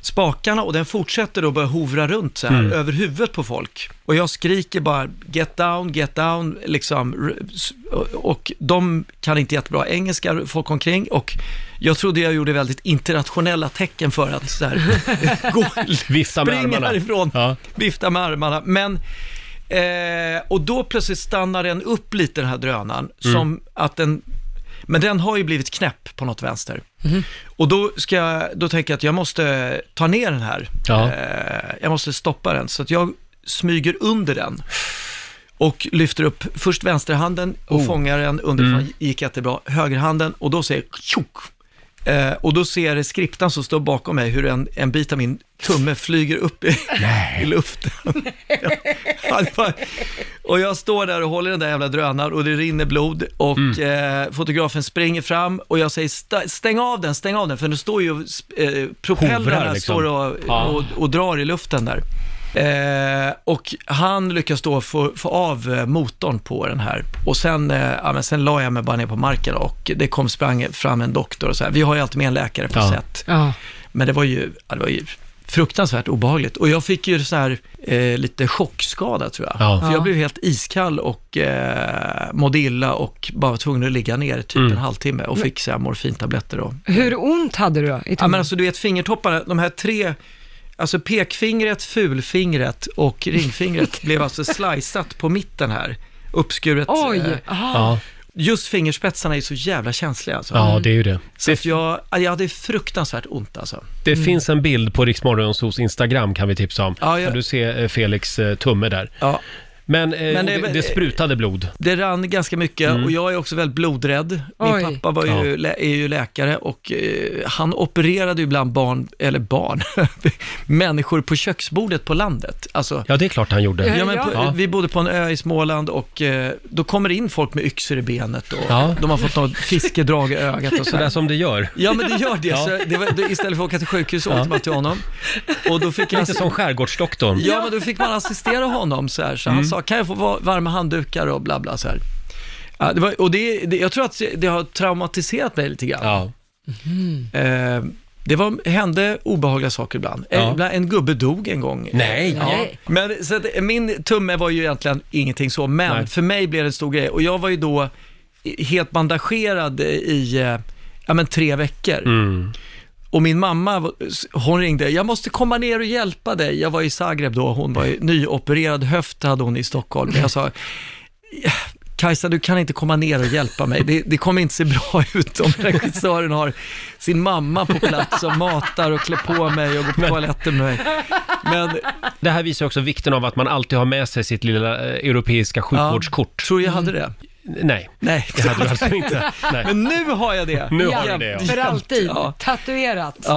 Speaker 13: spakarna och den fortsätter då börja hovra runt så här
Speaker 9: Mm.
Speaker 13: över huvudet på folk. Och jag skriker bara, get down, get down, liksom. r- s- och- Och de kan inte jättebra engelska, folk omkring. Och jag trodde jag gjorde väldigt internationella tecken för att så här, gå,
Speaker 1: Vifta med
Speaker 13: spring
Speaker 1: armarna.
Speaker 13: härifrån,
Speaker 1: Ja.
Speaker 13: vifta med armarna. Men, eh, och då plötsligt stannar den upp lite den här drönaren,
Speaker 9: Mm.
Speaker 13: som att den, men den har ju blivit knäpp på något vänster. Och då, ska jag, då tänker jag att jag måste ta ner den här. Eh, jag måste stoppa den, så att jag smyger under den. Och lyfter upp först vänsterhanden och
Speaker 9: Oh.
Speaker 13: fångar den underifrån,
Speaker 9: Mm.
Speaker 13: gick jättebra. Högerhanden och då säger tjock. Eh, och då ser jag skriptan som står bakom mig hur en, en bit av min tumme flyger upp i, i luften. Ja, det var- och jag står där och håller den där jävla drönaren och det rinner blod och
Speaker 9: Mm.
Speaker 13: eh, fotografen springer fram och jag säger "Sta- stäng av den, stäng av den, för nu står ju eh, propellrarna
Speaker 9: Hovrar, liksom.
Speaker 13: står och,
Speaker 9: Ja.
Speaker 13: och, och drar i luften där. Eh, och han lyckas då få, få av eh, motorn på den här. Och sen, eh, ja, men sen la jag mig bara ner på marken och det kom sprang fram en doktor och så här. Vi har ju alltid med en läkare på
Speaker 3: Ja.
Speaker 13: set.
Speaker 3: Ja.
Speaker 13: Men det var ju, ja, det var ju fruktansvärt obehagligt. Och jag fick ju så här eh, lite chockskada tror jag.
Speaker 1: Ja.
Speaker 13: För
Speaker 1: Ja.
Speaker 13: jag blev helt iskall och eh, mådde illa och bara var tvungen att ligga ner i typ en halvtimme och fick så här morfintabletter och
Speaker 3: Hur ont hade du då? I
Speaker 13: Ja,
Speaker 3: tummen?
Speaker 13: men alltså du vet fingertopparna, de här tre, alltså pekfingret, fulfingret och ringfingret blev alltså slicat på mitten här, uppskuret.
Speaker 3: Oj,
Speaker 13: eh,
Speaker 3: aha. Ja.
Speaker 13: Just fingerspetsarna är så jävla känsliga alltså.
Speaker 1: Ja, det är ju det.
Speaker 13: Så att jag, ja, jag hade fruktansvärt ont alltså.
Speaker 1: Det finns en bild på Riksmorgonsos Instagram kan vi tipsa om.
Speaker 13: Ja, ja.
Speaker 1: Kan du se eh, Felix eh, tumme där. Men, eh,
Speaker 13: Men det
Speaker 1: det,
Speaker 13: är
Speaker 1: det,
Speaker 13: väl-
Speaker 1: sprutade blod.
Speaker 13: Det rann ganska mycket
Speaker 1: Mm.
Speaker 13: och jag är också väldigt blodrädd. Min
Speaker 1: Oj.
Speaker 13: pappa var ju, lä- är ju läkare och eh, han opererade ju bland barn, eller barn, människor på köksbordet på landet. Alltså,
Speaker 1: ja, det är klart han gjorde.
Speaker 13: Ja, men på,
Speaker 1: Ja.
Speaker 13: Vi bodde på en ö i Småland och eh, då kommer det in folk med yxor i benet och
Speaker 1: Ja.
Speaker 13: de har fått något fiskedrag i ögat och
Speaker 1: Sådär
Speaker 13: sådär.
Speaker 1: som det gör.
Speaker 13: Ja, men det gör det.
Speaker 1: Ja.
Speaker 13: Så det var, det, istället för att åka till sjukhus åkte
Speaker 1: Ja.
Speaker 13: man till honom. Och då fick
Speaker 1: Lite som skärgårdsdoktorn.
Speaker 13: Ja, men då fick man assistera honom så här. Så
Speaker 1: Mm.
Speaker 13: han sa, kan jag få va- varma handdukar och bla bla så här. Ja, det var, och det, det, jag tror att det har traumatiserat mig lite grann. Eh, det var, hände obehagliga saker ibland. Eh,
Speaker 1: Ja.
Speaker 13: ibland. En gubbe dog en gång.
Speaker 1: Nej.
Speaker 13: Ja.
Speaker 1: Nej.
Speaker 13: Men, så att, eh, min tumme var ju egentligen ingenting så, men för mig blev det en stor grej. Och jag var ju då helt bandagerad i eh, ja, men tre veckor. Och min mamma, var- hon ringde, jag måste komma ner och hjälpa dig. Jag var i Zagreb då, hon var ju nyopererad höft hade hon i Stockholm. Jag sa, Kajsa, du kan inte komma ner och hjälpa mig. Det, det kommer inte se bra ut om regissören har sin mamma på plats som matar och klär på mig och går på toaletten med mig. Men
Speaker 1: Det här visar också vikten av att man alltid har med sig sitt lilla eh, europeiska sjukvårdskort. Mm.
Speaker 13: tror jag hade det.
Speaker 1: Nej,
Speaker 13: Nej,
Speaker 1: det hade du alltså inte. Nej.
Speaker 13: Men nu har jag det.
Speaker 1: Nu har du det, ja.
Speaker 3: För alltid. Tatuerat.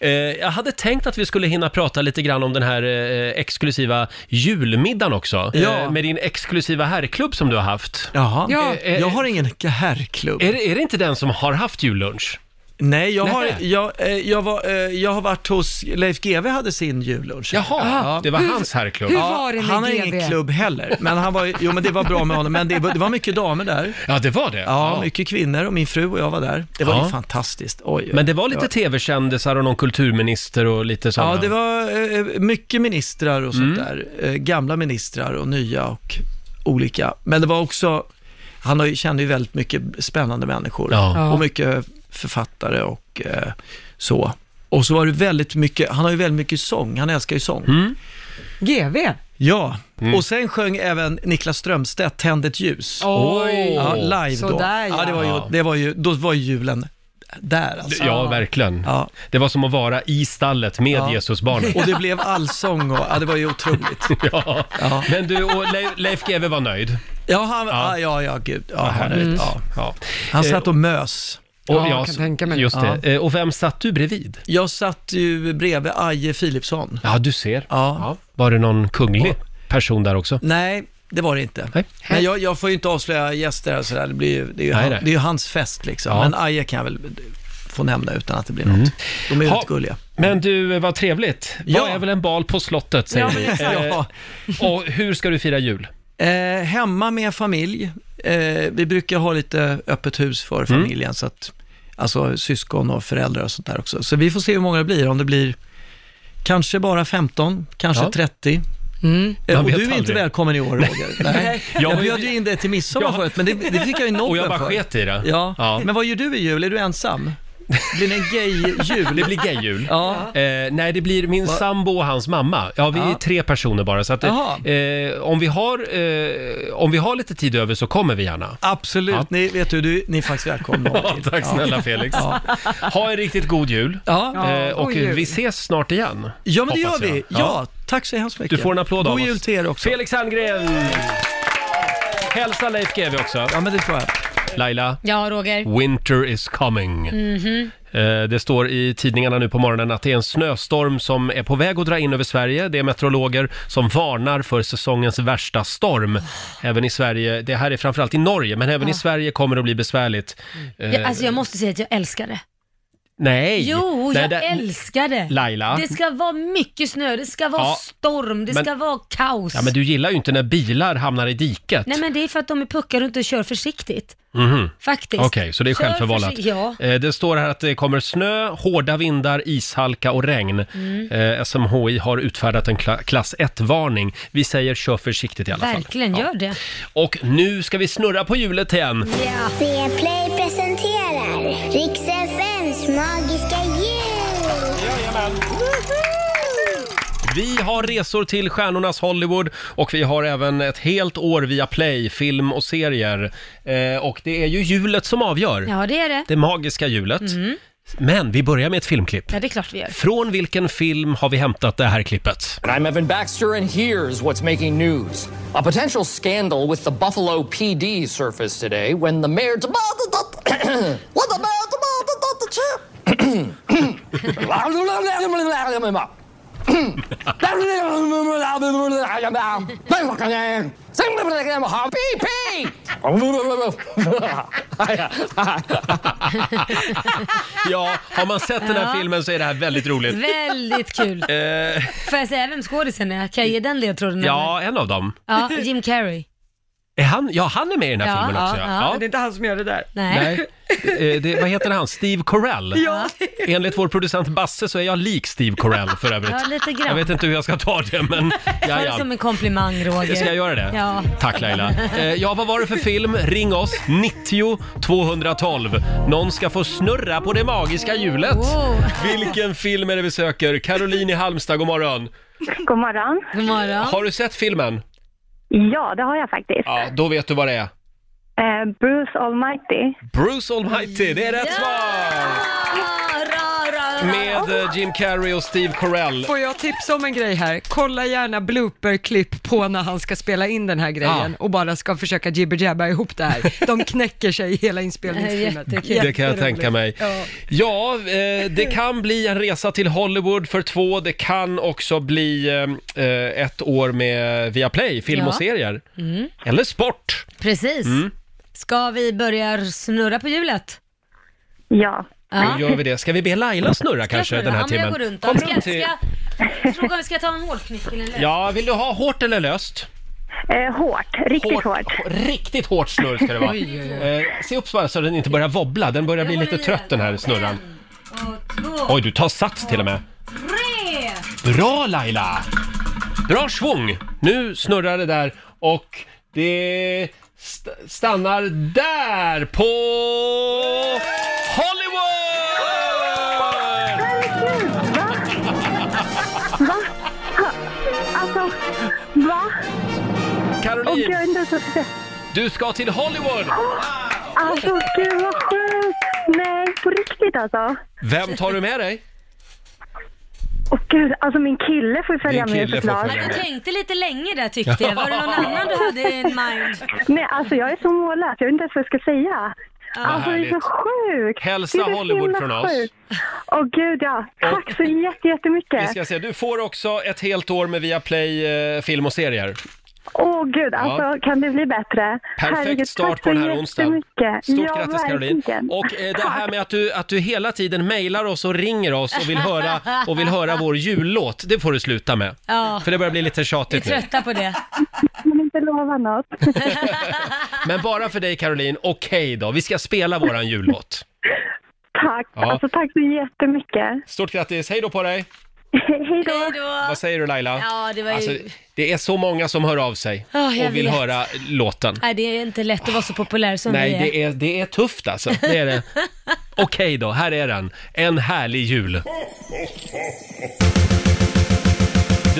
Speaker 1: Eh, jag hade tänkt att vi skulle hinna prata lite grann om den här eh, exklusiva julmiddagen också.
Speaker 13: Ja.
Speaker 1: Eh, med din exklusiva herrklubb som du har haft.
Speaker 13: Jaha,
Speaker 1: Ja.
Speaker 13: Eh, jag har ingen herrklubb.
Speaker 1: Är, det- är det inte den som har haft jullunch?
Speaker 13: Nej, jag har,
Speaker 1: Nej.
Speaker 13: jag, eh, jag, var, eh, jag har varit hos, Leif GW hade sin jullunch. Jaha,
Speaker 1: Ah. det var Hur- hans herrklubb. hur var det med
Speaker 13: han har
Speaker 1: GV?
Speaker 13: ingen klubb heller, men han var, jo men det var bra med honom, men det, var- det var mycket damer där.
Speaker 1: Ja, det var det.
Speaker 13: Ja,
Speaker 1: Ja.
Speaker 13: mycket kvinnor och min fru och jag var där. Det var
Speaker 1: Ja.
Speaker 13: ju fantastiskt. Oj,
Speaker 1: Men det var lite
Speaker 13: Ja.
Speaker 1: tv-kändisar och någon kulturminister och lite sådana.
Speaker 13: Ja, det var eh, mycket ministrar och
Speaker 1: Mm.
Speaker 13: sånt där. Eh, gamla ministrar och nya och olika. Men det var också, han har ju, kände ju väldigt mycket spännande människor
Speaker 1: Ja. Ja.
Speaker 13: och mycket författare och eh, så. Och så var det väldigt mycket, han har ju väldigt mycket sång, han älskar ju sång.
Speaker 1: Mm.
Speaker 3: GV.
Speaker 13: Ja, och sen sjöng även Niklas Strömstedt Tänd ett ljus.
Speaker 3: Oj.
Speaker 13: ja, live då.
Speaker 3: Sådär, ja.
Speaker 13: ja. det var ju, det var ju, då var ju julen där alltså.
Speaker 1: Ja, verkligen. Det var som att vara i stallet med
Speaker 13: Ja.
Speaker 1: Jesusbarnet.
Speaker 13: Och det blev allsång och, ja, det var ju otroligt.
Speaker 1: ja. Men du, och Leif, Leif GW var nöjd?
Speaker 13: Ja, han, ja, ja, ja gud. Ja,
Speaker 1: Vad
Speaker 13: han, är-
Speaker 1: härligt.
Speaker 13: ja.
Speaker 1: Ja.
Speaker 13: han
Speaker 1: Eh,
Speaker 13: satt och mös.
Speaker 1: och- Ja, ja, jag kan så- tänka mig det. just det. Eh, Och vem satt du bredvid?
Speaker 13: Jag satt ju bredvid Aje Philipsson.
Speaker 1: Ja, du ser.
Speaker 13: Ja.
Speaker 1: Var det någon kunglig person där också?
Speaker 13: Nej, det var det inte. Men jag, jag får ju inte avslöja gäster och sådär. Det, blir ju, det, är ju,
Speaker 1: Nej,
Speaker 13: han-
Speaker 1: nej.
Speaker 13: det är ju hans fest liksom.
Speaker 1: Ja.
Speaker 13: Men Aje kan jag väl få nämna utan att det blir något. De är ju
Speaker 1: Ha,
Speaker 13: rätt gulliga.
Speaker 1: Men du, eh, vad trevligt. Vad är väl en bal på slottet, säger
Speaker 13: Ja,
Speaker 1: vi.
Speaker 13: men exakt.
Speaker 1: Eh, Och hur ska du fira jul?
Speaker 13: Eh, hemma med familj. Eh, vi brukar ha lite öppet hus för
Speaker 1: Mm.
Speaker 13: familjen, så att, alltså syskon och föräldrar och sånt där också. Så vi får se hur många det blir, om det blir kanske bara 15, kanske
Speaker 1: Ja.
Speaker 13: 30. Eh,
Speaker 1: Man
Speaker 13: Och du
Speaker 1: vet
Speaker 13: är inte
Speaker 1: aldrig.
Speaker 13: välkommen i år, Roger. Nej.
Speaker 1: Jag
Speaker 13: Jag
Speaker 1: har ju-
Speaker 13: bjöd ju in dig till midsommar
Speaker 1: Ja.
Speaker 13: förut, men det, det fick jag ju nobben
Speaker 1: Och jag bara
Speaker 13: för.
Speaker 1: sket i det.
Speaker 13: Ja.
Speaker 1: Ja.
Speaker 13: Men vad gör du i jul? Är du ensam? Blir det en gay-jul?
Speaker 1: Det blir gay-jul.
Speaker 13: Ja.
Speaker 1: Eh, nej, det blir min
Speaker 13: Va-
Speaker 1: sambo och hans mamma. Ja, vi är
Speaker 13: Ja.
Speaker 1: tre personer bara, så att, eh,
Speaker 13: Jaha.
Speaker 1: eh, om, vi har, eh, om vi har lite tid över så kommer vi gärna.
Speaker 13: Absolut,
Speaker 1: Ja.
Speaker 13: ni, vet du, du, ni är faktiskt välkomna.
Speaker 1: Ja, tack snälla Felix. Ha en riktigt god jul.
Speaker 13: Ja.
Speaker 1: Eh, och
Speaker 13: God jul.
Speaker 1: vi ses snart igen.
Speaker 13: Ja, men det gör
Speaker 1: hoppas jag.
Speaker 13: vi. Ja. tack så hemskt mycket.
Speaker 1: Du får en applåd
Speaker 13: God
Speaker 1: av oss.
Speaker 13: jul till er också.
Speaker 1: Felix Herngren! Hälsa Leif GW också.
Speaker 13: Ja, men det tror jag.
Speaker 1: Laila,
Speaker 2: Ja, Roger.
Speaker 1: winter is coming.
Speaker 2: Mhm.
Speaker 1: Eh, Det står i tidningarna nu på morgonen att det är en snöstorm som är på väg att dra in över Sverige. Det är meteorologer som varnar för säsongens värsta storm.
Speaker 2: Ah.
Speaker 1: Även i Sverige, det här är framförallt i Norge, men även i Sverige kommer det att bli besvärligt.
Speaker 2: Jag,
Speaker 1: Eh,
Speaker 2: alltså jag måste säga att jag älskar det.
Speaker 1: Nej!
Speaker 2: Jo,
Speaker 1: Nej,
Speaker 2: jag
Speaker 1: det-
Speaker 2: älskar det.
Speaker 1: Laila.
Speaker 2: Det ska vara mycket snö, det ska vara
Speaker 1: Ja,
Speaker 2: storm, det
Speaker 1: men-
Speaker 2: ska vara kaos.
Speaker 1: Ja, men du gillar ju inte när bilar hamnar i diket.
Speaker 2: Nej men det är för att de är puckar och inte kör försiktigt.
Speaker 1: Mhm.
Speaker 2: Faktiskt.
Speaker 1: Okej, så det är
Speaker 2: Kör
Speaker 1: självförvållat.
Speaker 2: försi- Ja.
Speaker 1: Eh, Det står här att det kommer snö, hårda vindar, ishalka och regn.
Speaker 2: Mm.
Speaker 1: Eh, SMHI har utfärdat en kla- klass 1-varning. Vi säger kör försiktigt i alla fall.
Speaker 2: Verkligen, gör det.
Speaker 1: Och nu ska vi snurra på hjulet igen.
Speaker 5: Play presenterar Riks FMs magiska jul! Jajamän!
Speaker 1: Vi har resor till stjärnornas Hollywood och vi har även ett helt år via Play, film och serier. Eh, och det är ju hjulet som avgör.
Speaker 2: Ja, det är det.
Speaker 1: Det magiska hjulet.
Speaker 2: Mm.
Speaker 1: Men vi börjar med ett filmklipp.
Speaker 2: Ja, det är klart vi gör.
Speaker 1: Från vilken film har vi hämtat det här klippet?
Speaker 14: And I'm Evan Baxter, and here's what's making news. A potential scandal with the Buffalo PD surfaced today when the mayor demanded that. what the mayor demanded that the chief.
Speaker 1: Ja, har man sett den här
Speaker 2: Ja. Mm.
Speaker 1: filmen så är det här väldigt roligt.
Speaker 2: Väldigt kul.
Speaker 1: Eh,
Speaker 2: Får jag säga vem skådisen är? Kan jag ge den ledtråden?
Speaker 1: ja, en av dem.
Speaker 2: Ja, Jim Carrey.
Speaker 1: Är han, ja, han är med i den här
Speaker 2: Ja,
Speaker 1: filmen
Speaker 2: ja,
Speaker 1: också.
Speaker 2: ja.
Speaker 1: Ja.
Speaker 2: Men det
Speaker 3: är inte han som gör det där.
Speaker 2: Nej.
Speaker 1: Nej. Eh, Det, vad heter han? Steve Carell?
Speaker 3: Ja.
Speaker 1: Enligt vår producent Basse så är jag lik Steve Carell för övrigt.
Speaker 2: Ja, lite grann.
Speaker 1: Jag vet inte hur jag ska ta det, men
Speaker 2: Ta
Speaker 1: ja,
Speaker 2: det
Speaker 1: ja.
Speaker 2: som en komplimang, Roger.
Speaker 1: Ska jag göra det?
Speaker 2: Ja.
Speaker 1: Tack Laila. Eh, ja, vad var det för film? Ring oss, 90 212. Någon ska få snurra på det magiska hjulet. Vilken film är det vi söker? Caroline i Halmstad, god morgon.
Speaker 7: God morgon.
Speaker 2: God morgon.
Speaker 1: Har du sett filmen?
Speaker 7: Ja, det har jag faktiskt.
Speaker 1: Ja, då vet du vad det är.
Speaker 7: Eh, Bruce Almighty.
Speaker 1: Bruce Almighty, det är rätt svar! Med eh, Jim Carrey och Steve Carell.
Speaker 3: Får jag tipsa om en grej här? Kolla gärna blooperklipp på när han ska spela in den här grejen och bara ska försöka jibber-jabba ihop det här. De knäcker sig i hela inspelningsfilmen.
Speaker 1: Det kan jag tänka mig. Ja, eh, det kan bli en resa till Hollywood för två. Det kan också bli eh, eh, ett år med Viaplay, film
Speaker 2: Ja.
Speaker 1: och serier.
Speaker 2: Mm.
Speaker 1: Eller sport.
Speaker 2: Precis.
Speaker 1: Mm.
Speaker 2: Ska vi börja snurra på hjulet?
Speaker 7: Ja.
Speaker 1: Då gör vi det. Ska vi be Laila snurra
Speaker 2: Ska jag
Speaker 1: kanske
Speaker 2: snurra?
Speaker 1: den här
Speaker 2: ja, men
Speaker 1: timmen?
Speaker 2: Jag går runt.
Speaker 1: Kom
Speaker 2: Kom ska,
Speaker 1: runt till...
Speaker 2: ska, jag frågar om jag ska ta en hålknyckel eller?
Speaker 1: Ja, vill du ha hårt eller löst?
Speaker 7: Eh, hårt, riktigt hårt.
Speaker 1: hå- Riktigt hårt snurr ska det vara.
Speaker 7: Oj, oj,
Speaker 1: Eh, se upp bara så den inte börjar wobbla. Den börjar bli lite trött den här snurran.
Speaker 2: Två,
Speaker 1: Oj, du tar sats till och med.
Speaker 2: tre!
Speaker 1: Bra Laila! Bra svung! Nu snurrar det där och det st- stannar där på Hollywood!
Speaker 7: Va? Ha, Alltså, va?
Speaker 1: Caroline.
Speaker 7: Åh, gud, jag är inte så-
Speaker 1: Du ska till Hollywood!
Speaker 7: Alltså, gud vad sjukt! Nej, på riktigt alltså.
Speaker 1: Vem tar du med dig?
Speaker 7: Åh gud, alltså min kille får ju följa
Speaker 1: Din
Speaker 7: med
Speaker 1: kille får
Speaker 7: såklart.
Speaker 1: följa
Speaker 2: Du tänkte lite länge där tyckte jag. Var det någon annan du hade in mind?
Speaker 7: Nej, alltså jag är så mållös. Jag vet inte ens vad jag ska säga.
Speaker 2: Ja.
Speaker 7: Alltså det är så
Speaker 1: Härligt.
Speaker 7: sjukt!
Speaker 1: Hälsa
Speaker 7: Det är så
Speaker 1: Hollywood
Speaker 7: himla
Speaker 1: från oss.
Speaker 7: sjukt. Åh gud ja. Tack så jätte- jättemycket.
Speaker 1: Vi ska se, du får också ett helt år med Viaplay eh, film och serier.
Speaker 7: Åh gud, alltså
Speaker 1: Ja.
Speaker 7: kan det bli bättre?
Speaker 1: Perfekt
Speaker 7: Herregud,
Speaker 1: start
Speaker 7: tack
Speaker 1: på den
Speaker 7: så
Speaker 1: här onsdagen.
Speaker 7: jättemycket.
Speaker 1: Stort
Speaker 7: Ja,
Speaker 1: grattis Caroline.
Speaker 7: verkligen.
Speaker 1: Och eh, det här med att du, att du hela tiden mejlar oss och ringer oss och vill höra, och vill höra vår jullåt, det får du sluta med.
Speaker 2: Ja.
Speaker 1: För det börjar bli lite
Speaker 2: Vi är
Speaker 1: tjatigt nu.
Speaker 2: trötta på det.
Speaker 7: Kan inte lova något.
Speaker 1: Men bara för dig Caroline, okej då, vi ska spela våran jullåt.
Speaker 7: Tack,
Speaker 1: Ja.
Speaker 7: alltså tack så jättemycket.
Speaker 1: Stort grattis, hej då på dig!
Speaker 7: Hej då!
Speaker 1: Vad säger du Laila?
Speaker 2: Ja, det var ju-
Speaker 1: alltså, det är så många som hör av sig
Speaker 2: Ja, jag
Speaker 1: och vill
Speaker 2: vet.
Speaker 1: höra låten.
Speaker 2: Nej, det är inte lätt att vara så populär som
Speaker 1: Nej,
Speaker 2: vi är.
Speaker 1: det är, det är tufft alltså. Det är det. Okej då, här är den. En härlig jul.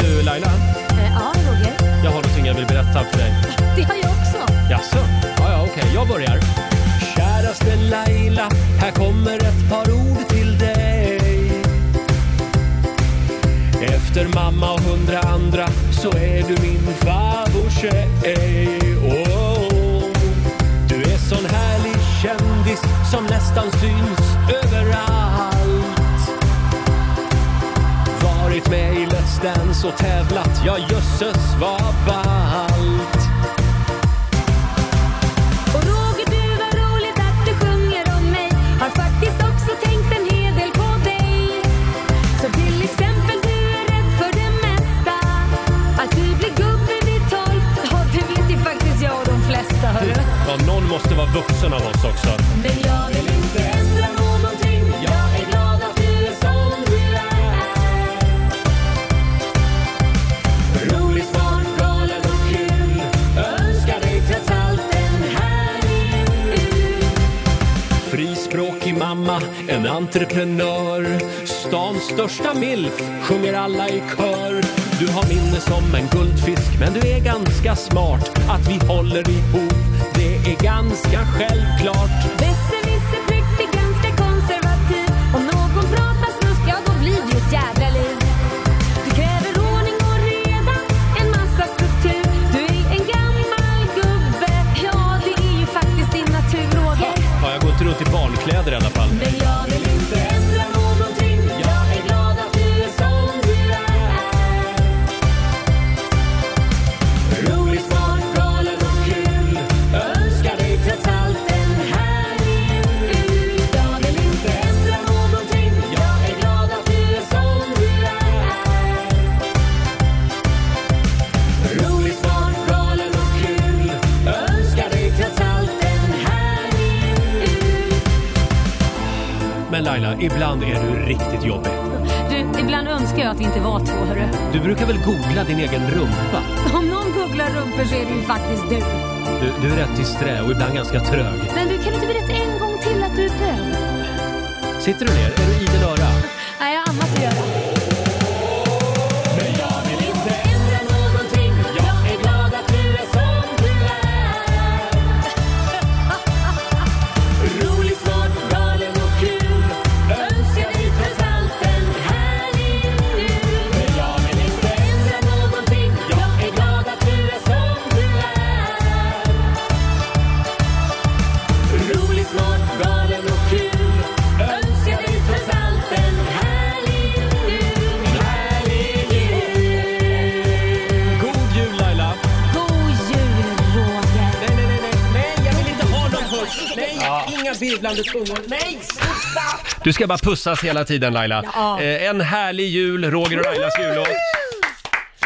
Speaker 1: Du Laila,
Speaker 2: Eh, Ja, Roger.
Speaker 1: jag har någonting jag vill berätta för dig.
Speaker 2: Det har jag också.
Speaker 1: Jaså? Ja, ja, okej. Jag börjar. Käraste Laila, här kommer ett par ord till dig. Efter mamma och hundra andra så är du min favorittjej. Oh, du är sån härlig kändis som nästan syns överallt. Varit med i Let's Dance och tävlat, ja jösses vad ballt.
Speaker 11: Och Roger du vad roligt att du sjunger om mig Har faktiskt också tänkt en hel del på dig Så till exempel du är rädd för det mesta Att du blir gubbe vid tolv Ja det vet ju faktiskt jag och de flesta hörru
Speaker 1: Ja, någon måste vara vuxen av oss också.
Speaker 11: Men jag vill inte ändra någonting Jag är glad att du är som du är Rolig, smart, galen och kul Önskar dig trots allt en härlig jul
Speaker 1: Frispråkig mamma, en entreprenör. Stans största milf, sjunger alla i kör. Du har minne som en guldfisk, men du är ganska smart. Att vi håller ihop, det är ganska självklart.
Speaker 11: Vesse, visse, prick, är ganska konservativ Om någon pratar snusk, ja då blir det ett jävla liv Du kräver ordning och reda, en massa struktur Du är en gammal gubbe, ja det är ju faktiskt din natur, Roger
Speaker 1: Ja, jag går inte runt i barnkläder i alla fall.
Speaker 11: Men jag vill inte ändra någonting Jag är glad att du är som du är Rolig, smart, galen och kul Önskar dig trots allt en härlig jul Jag vill inte ändra någonting Jag är glad att du är som du är Rolig, smart, galen och kul Önskar dig trots allt en härlig jul
Speaker 1: Men Laila, ibland är du riktigt jobbig.
Speaker 2: Du, ibland önskar jag att vi inte var två, hörru.
Speaker 1: Du brukar väl googla din egen rumpa?
Speaker 2: Om någon googlar rumpor så är det ju faktiskt du.
Speaker 1: Du, du är rätt disträ och ibland ganska trög.
Speaker 2: Men du, kan du inte berätta en gång till att du är bög?
Speaker 1: Sitter du ner? Är du idel öra?
Speaker 2: Nej, jag har annat att göra.
Speaker 11: Men jag vill inte ändra någonting Jag är glad att du är som du är Rolig, smart, galen och kul Önskar dig trots allt en härlig jul Men jag vill inte ändra någonting Jag är glad att du är som du är Rolig, smart, galen och kul Önskar dig trots allt en härlig jul En härlig jul
Speaker 1: God jul Laila!
Speaker 11: God jul Roger!
Speaker 1: Nej, nej, nej, nej, nej, jag vill inte ha någon puss!
Speaker 11: Nej,
Speaker 1: inga virvlande tungor! Nej, Du ska bara pussas hela tiden Laila.
Speaker 2: Ja.
Speaker 1: Eh, en härlig jul, Roger och Lailas jullåt.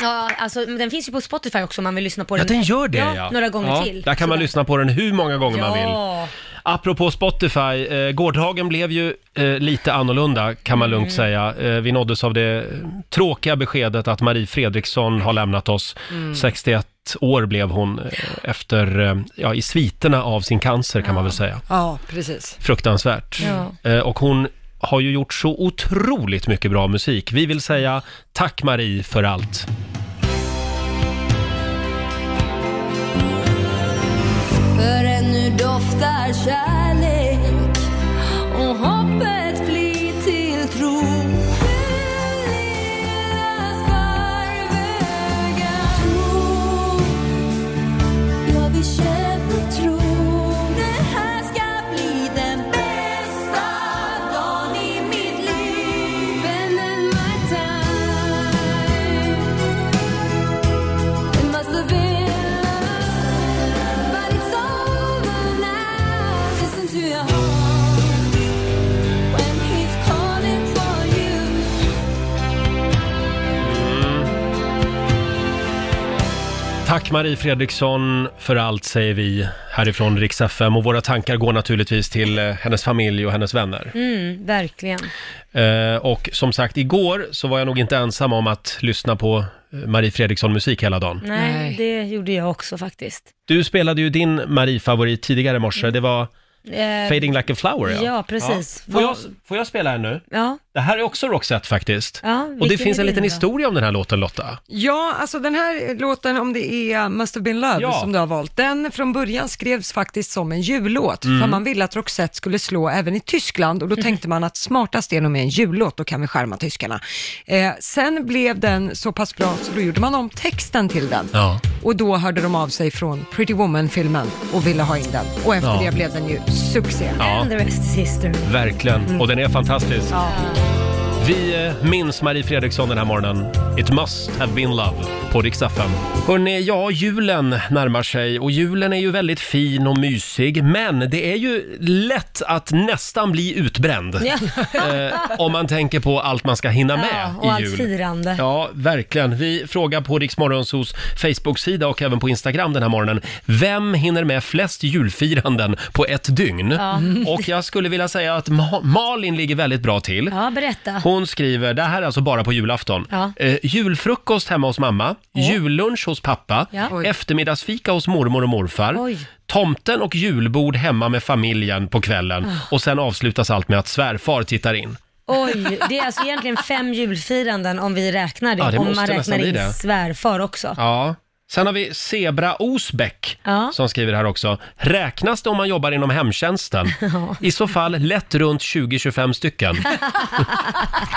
Speaker 2: Ja, alltså men den finns ju på Spotify också om man vill lyssna på
Speaker 1: Ja,
Speaker 2: den.
Speaker 1: den gör det ja.
Speaker 2: ja. Några gånger
Speaker 1: Ja,
Speaker 2: till.
Speaker 1: Där kan man
Speaker 2: Så-
Speaker 1: lyssna på den hur många gånger
Speaker 2: ja.
Speaker 1: man vill. Apropå Spotify, eh, gårdagen blev ju eh, lite annorlunda kan man
Speaker 3: Mm.
Speaker 1: lugnt säga. Eh, vi nåddes av det tråkiga beskedet att Marie Fredriksson har lämnat oss.
Speaker 15: Mm.
Speaker 1: 61 år blev hon eh, efter, eh, ja i sviterna av sin cancer kan man väl säga.
Speaker 3: Ja, precis.
Speaker 1: Fruktansvärt.
Speaker 3: Ja.
Speaker 1: Eh, och hon har ju gjort så otroligt mycket bra musik. Vi vill säga tack Marie för allt.
Speaker 11: För ännu doftar kärlek och hoppet blir till tro. Heligas farvägar. Tro. Jag vill känna tro. Det här ska bli den bästa dagen i mitt liv. And then my time. It must have been
Speaker 1: Tack Marie Fredriksson för allt säger vi härifrån Rix FM och våra tankar går naturligtvis till eh, hennes familj och hennes vänner.
Speaker 2: Mm, verkligen.
Speaker 1: Eh, Och som sagt, igår så var jag nog inte ensam om att lyssna på eh, Marie Fredriksson-musik hela dagen.
Speaker 2: Nej, det gjorde jag också faktiskt.
Speaker 1: Du spelade ju din Marie-favorit tidigare i morse, det var
Speaker 2: Eh,
Speaker 1: Fading Like a Flower.
Speaker 2: ja, precis.
Speaker 1: Får, jag, får jag spela en nu?
Speaker 2: Ja.
Speaker 1: Det här är också Roxette faktiskt.
Speaker 3: Ja,
Speaker 1: och det
Speaker 3: vilken
Speaker 1: finns
Speaker 3: är
Speaker 1: en liten
Speaker 3: din då?
Speaker 1: historia om den här låten Lotta.
Speaker 3: Ja, alltså den här låten, om det är Must have been love
Speaker 1: Ja.
Speaker 3: som du har valt, den från början skrevs faktiskt som en jullåt,
Speaker 1: Mm.
Speaker 3: för man ville att Roxette skulle slå även i Tyskland och då tänkte man att smartast är nog med en jullåt, då kan vi skärma tyskarna. Eh, sen blev den så pass bra så då gjorde man om texten till den.
Speaker 1: Ja.
Speaker 3: Och då hörde de av sig från Pretty Woman-filmen och ville ha in den. Och efter
Speaker 1: Ja.
Speaker 3: det blev den ju succé.
Speaker 1: Ja. And the
Speaker 2: rest is history.
Speaker 1: Verkligen, och den är fantastisk.
Speaker 3: Ja.
Speaker 1: Vi eh, minns Marie Fredriksson den här morgonen. It must have been love på Rix FM. Hörrni, ja, julen närmar sig och julen är ju väldigt fin och mysig, men det är ju lätt att nästan bli utbränd. Eh, om man tänker på allt man ska hinna med
Speaker 2: och
Speaker 1: i
Speaker 2: allt
Speaker 1: jul.
Speaker 2: firande.
Speaker 1: Ja, verkligen. Vi frågar på Rix Morgonzos Facebook-sida och även på Instagram den här morgonen. Vem hinner med flest julfiranden på ett dygn?
Speaker 2: Ja. Mm.
Speaker 1: Och jag skulle vilja säga att Ma- Malin ligger väldigt bra till.
Speaker 2: Ja, berätta.
Speaker 1: Hon skriver, det här är alltså bara på julafton.
Speaker 2: Ja.
Speaker 1: Eh, julfrukost hemma hos mamma, jullunch hos pappa,
Speaker 2: Ja. Oj.
Speaker 1: eftermiddagsfika hos mormor och morfar, tomten och julbord hemma med familjen på kvällen
Speaker 2: Ah.
Speaker 1: och sen avslutas allt med att svärfar tittar in.
Speaker 2: Oj, det är alltså egentligen fem julfiranden om vi räknar det.
Speaker 1: Ja, det
Speaker 2: om
Speaker 1: måste
Speaker 2: man
Speaker 1: nästan
Speaker 2: räknar
Speaker 1: bli
Speaker 2: in
Speaker 1: det.
Speaker 2: svärfar också.
Speaker 1: Ja. Sen har vi Zebra Osbäck
Speaker 2: Ja.
Speaker 1: som skriver här också. Räknas det om man jobbar inom hemtjänsten? I så fall lätt runt 20-25 stycken.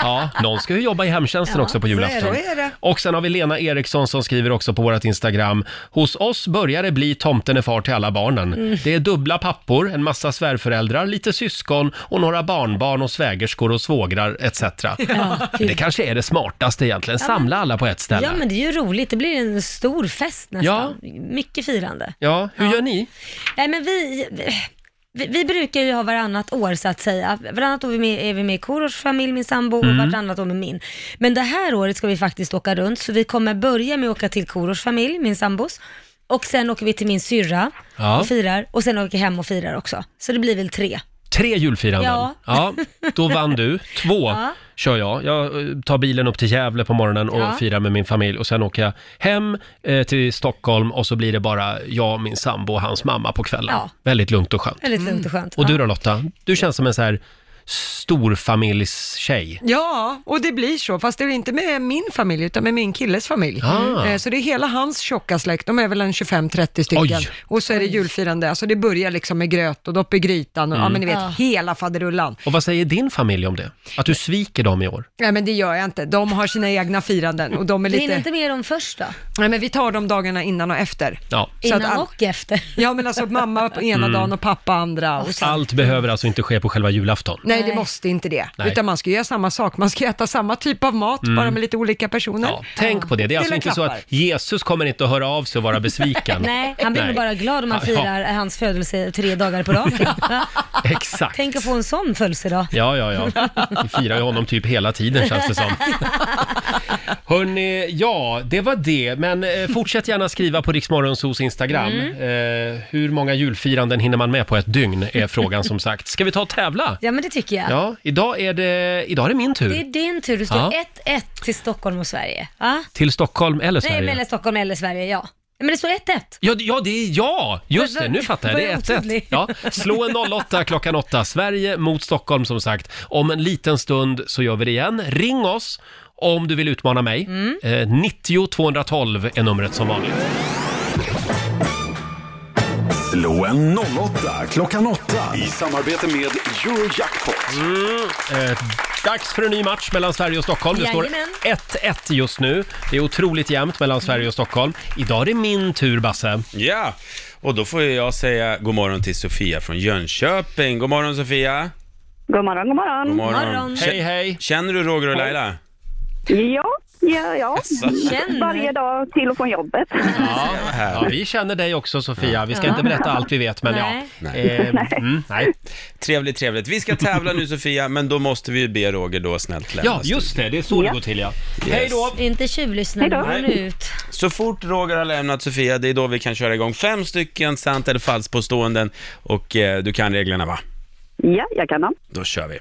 Speaker 1: ja, någon ska ju jobba i hemtjänsten också på
Speaker 3: så är det,
Speaker 1: julafton.
Speaker 3: så är det.
Speaker 1: Och sen har vi Lena Eriksson som skriver också på vårt Instagram. Hos oss börjar det bli tomten är far till alla barnen.
Speaker 2: Mm.
Speaker 1: Det är dubbla pappor, en massa svärföräldrar, lite syskon och några barnbarn och svägerskor och svågrar etc. Men det kanske är det smartaste egentligen,
Speaker 2: Ja,
Speaker 1: samla alla på ett ställe.
Speaker 2: Ja, men det är ju roligt. Det blir en stor fest nästan. Mycket firande.
Speaker 1: Ja, hur gör ni?
Speaker 2: Nej, men vi, vi, vi brukar ju ha varannat år så att säga. Varannat år är vi med, är vi med i Korosh familj, min sambo,
Speaker 16: Mm.
Speaker 2: och vartannat år med min. Men det här året ska vi faktiskt åka runt, så vi kommer börja med att åka till Korosh familj, min sambos. Och sen åker vi till min syrra
Speaker 1: Ja.
Speaker 2: och firar, och sen åker jag hem och firar också. Så det blir väl tre.
Speaker 1: Tre julfiranden. Ja.
Speaker 2: Ja.
Speaker 1: då vann du. Två
Speaker 2: Ja.
Speaker 1: kör jag. Jag eh, tar bilen upp till Gävle på morgonen och
Speaker 2: Ja.
Speaker 1: firar med min familj och sen åker jag hem eh, till Stockholm och så blir det bara jag, min sambo och hans mamma på kvällen.
Speaker 2: Ja.
Speaker 1: Väldigt lugnt och skönt.
Speaker 2: Väldigt lugnt och skönt.
Speaker 1: Och du
Speaker 2: Ja.
Speaker 1: då Lotta? Du känns som en så här storfamiljstjej.
Speaker 3: Ja, och det blir så, fast det är inte med min familj utan med min killes familj.
Speaker 1: Ah.
Speaker 3: Eh, Så det är hela hans tjocka släkt, de är väl en 25-30 stycken.
Speaker 1: Oj.
Speaker 3: Och så är det julfirande, alltså det börjar liksom med gröt och dopp i grytan och ja
Speaker 1: Mm.
Speaker 3: men ni vet,
Speaker 1: Ja.
Speaker 3: hela faderullan.
Speaker 1: Och vad säger din familj om det? Att du sviker dem i år?
Speaker 3: Nej men det gör jag inte, de har sina egna firanden och de är
Speaker 2: Vi hinner
Speaker 3: lite...
Speaker 2: inte med dem först då?
Speaker 3: Nej men vi tar de dagarna innan och efter.
Speaker 1: Ja.
Speaker 2: Innan
Speaker 3: all-
Speaker 2: och efter.
Speaker 3: Ja men alltså mamma på ena
Speaker 1: Mm.
Speaker 3: dagen och pappa andra. Och sen...
Speaker 1: Allt behöver alltså inte ske på själva julafton.
Speaker 3: Nej, det måste inte det.
Speaker 1: Nej.
Speaker 3: Utan man ska göra samma sak. Man ska äta samma typ av mat,
Speaker 1: Mm.
Speaker 3: bara med lite olika personer.
Speaker 1: Tänk på det. Det är alltså
Speaker 3: Lilla
Speaker 1: inte så
Speaker 3: klappar.
Speaker 1: att Jesus kommer inte att höra av sig och vara besviken.
Speaker 2: Nej, han blir
Speaker 1: Nej.
Speaker 2: nog bara glad om man
Speaker 1: Ja,
Speaker 2: firar hans födelse tre dagar på raken.
Speaker 1: Exakt.
Speaker 2: Tänk att få en sån födelsedag.
Speaker 1: Ja, ja, ja. Vi firar ju honom typ hela tiden känns det som. Hörni, ja, det var det. Men eh, fortsätt gärna skriva på Riksmorgonsos Instagram.
Speaker 2: Mm.
Speaker 1: Eh, hur många julfiranden hinner man med på ett dygn är frågan som sagt. Ska vi ta och tävla?
Speaker 2: Ja, men det tycker jag.
Speaker 1: Ja, idag är det, idag är det min tur.
Speaker 2: Det är din tur. Det står
Speaker 1: Ja.
Speaker 2: 1-1 till Stockholm och Sverige. Ja?
Speaker 1: Till Stockholm eller Sverige?
Speaker 2: Nej, mellan Stockholm eller Sverige, ja. Men det står 1-1.
Speaker 1: Ja, det- ja, det är ja! Just det, nu fattar jag. Det är
Speaker 2: Var jag
Speaker 1: 1-1.
Speaker 2: otydlig?
Speaker 1: Ja, slå en 08 klockan 8. Sverige mot Stockholm som sagt. Om en liten stund så gör vi det igen. Ring oss om du vill utmana mig. Eh, 90 212 är numret som vanligt.
Speaker 8: Slå en 08 klockan 8 i samarbete med Eurojackpot.
Speaker 1: Eh, dags för en ny match mellan Sverige och Stockholm. Det står
Speaker 8: Jajamän.
Speaker 1: 1-1 just nu. Det är otroligt jämnt mellan Sverige och Stockholm. Idag är det min tur, Basse.
Speaker 9: Ja, och då får jag säga god morgon till Sofia från Jönköping. God morgon Sofia!
Speaker 7: God morgon, god morgon.
Speaker 9: Kä- Känner du Roger och Laila?
Speaker 7: Ja, Ja, ja.
Speaker 1: Känner.
Speaker 7: Varje dag till och från jobbet.
Speaker 1: Ja, ja, vi känner dig också Sofia. Vi ska
Speaker 7: Ja.
Speaker 1: inte berätta allt vi vet, men ja.
Speaker 9: Nej.
Speaker 1: Eh, mm, nej.
Speaker 9: Trevligt, trevligt. Vi ska tävla nu Sofia, men då måste vi ju be Roger då snällt lämna
Speaker 1: Ja, just det. Det är så det går till, ja.
Speaker 9: Hej då!
Speaker 2: Inte tjuvlyssna, nu går ni ut.
Speaker 9: Så fort Roger har lämnat Sofia, det är då vi kan köra igång fem stycken sant eller falskt påståenden och eh, du kan reglerna va?
Speaker 7: Ja, jag kan dem.
Speaker 9: Då kör vi.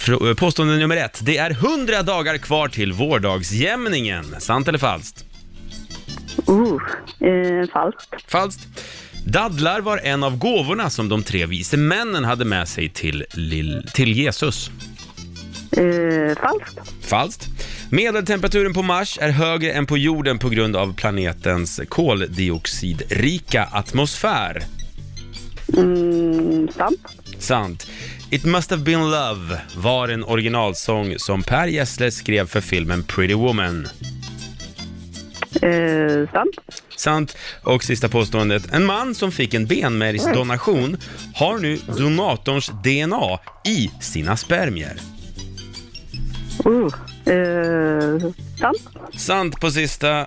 Speaker 9: Fr- eh, Påstående nummer ett. Det är 100 dagar kvar till vårdagsjämningen. Sant eller falskt?
Speaker 7: Uh, eh, falskt.
Speaker 9: Falskt. Dadlar var en av gåvorna som de tre vise männen hade med sig till, lill- till Jesus.
Speaker 7: Eh, falskt.
Speaker 9: Falskt. Medeltemperaturen på Mars är högre än på jorden på grund av planetens koldioxidrika atmosfär.
Speaker 7: Mm, sant.
Speaker 9: Sant. It must have been love var en originalsång som Per Gessle skrev för filmen Pretty Woman.
Speaker 7: Eh, sant.
Speaker 9: Sant. Och sista påståendet. En man som fick en benmärgsdonation har nu donatorns DNA i sina spermier.
Speaker 7: Uh, eh, sant.
Speaker 9: Sant på sista.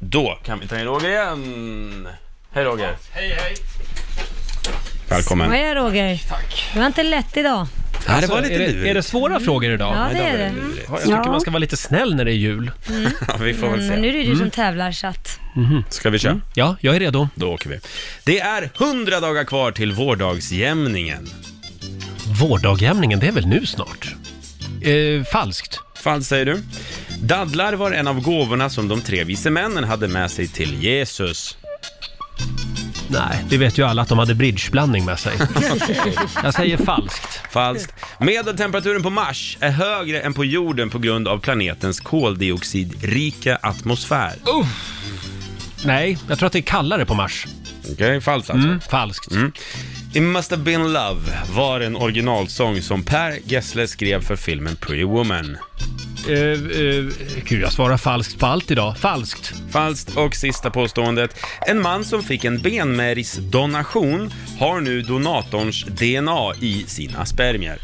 Speaker 9: Då kan vi ta in Roger igen. Hej Roger.
Speaker 1: Hej, hej.
Speaker 9: Välkommen.
Speaker 2: Vad är Roger? Tack. Det var inte lätt idag.
Speaker 9: Ja, det var lite
Speaker 1: Alltså, är,
Speaker 9: lurigt.
Speaker 1: det, är det svåra frågor idag?
Speaker 2: Ja, det är det.
Speaker 1: Jag tycker
Speaker 2: Ja.
Speaker 1: man ska vara lite snäll när det är jul.
Speaker 9: Ja, vi får väl se.
Speaker 2: Men nu är det ju du
Speaker 9: Mm.
Speaker 2: som tävlar så att...
Speaker 9: Ska vi köra?
Speaker 1: Ja, jag är redo.
Speaker 9: Då åker vi. Det är 100 dagar kvar till vårdagsjämningen.
Speaker 1: Vårdagjämningen, det är väl nu snart? Eh, falskt.
Speaker 9: Falskt säger du. Dadlar var en av gåvorna som de tre vise männen hade med sig till Jesus.
Speaker 1: Nej, det vet ju alla att de hade bridgeblandning med sig. Jag säger falskt.
Speaker 9: Falskt. Medeltemperaturen på Mars är högre än på jorden på grund av planetens koldioxidrika atmosfär.
Speaker 1: Oh. Nej, jag tror att det är kallare på Mars.
Speaker 9: Okej, falskt
Speaker 1: Mm.
Speaker 9: alltså.
Speaker 1: falskt.
Speaker 9: It must have been love var en originalsång som Per Gessle skrev för filmen Pretty Woman.
Speaker 1: Eh, eh, gud, jag svarar falskt på allt idag. Falskt.
Speaker 9: Falskt. Och sista påståendet. En man som fick en benmärgsdonation har nu donatorns DNA i sina spermier.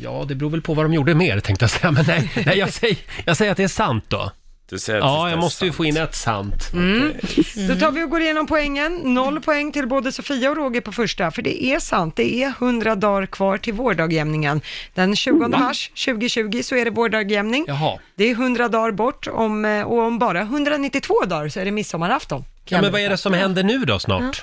Speaker 1: Ja, det beror väl på vad de gjorde mer tänkte jag säga. Men nej, nej jag, säger, jag säger att det är sant då.
Speaker 9: Du säger
Speaker 1: att ja, jag måste ju få in ett sant.
Speaker 3: Mm. Då tar vi och går igenom poängen. Noll poäng till både Sofia och Roger på första, för det är sant. Det är 100 dagar kvar till vårdagjämningen. Den 20
Speaker 16: Va?
Speaker 3: mars 2020 så är det vårdagjämning. Det är 100 dagar bort om, eh, och om bara 192 dagar så är det midsommarafton.
Speaker 1: Ja, men vad är det som händer nu då snart?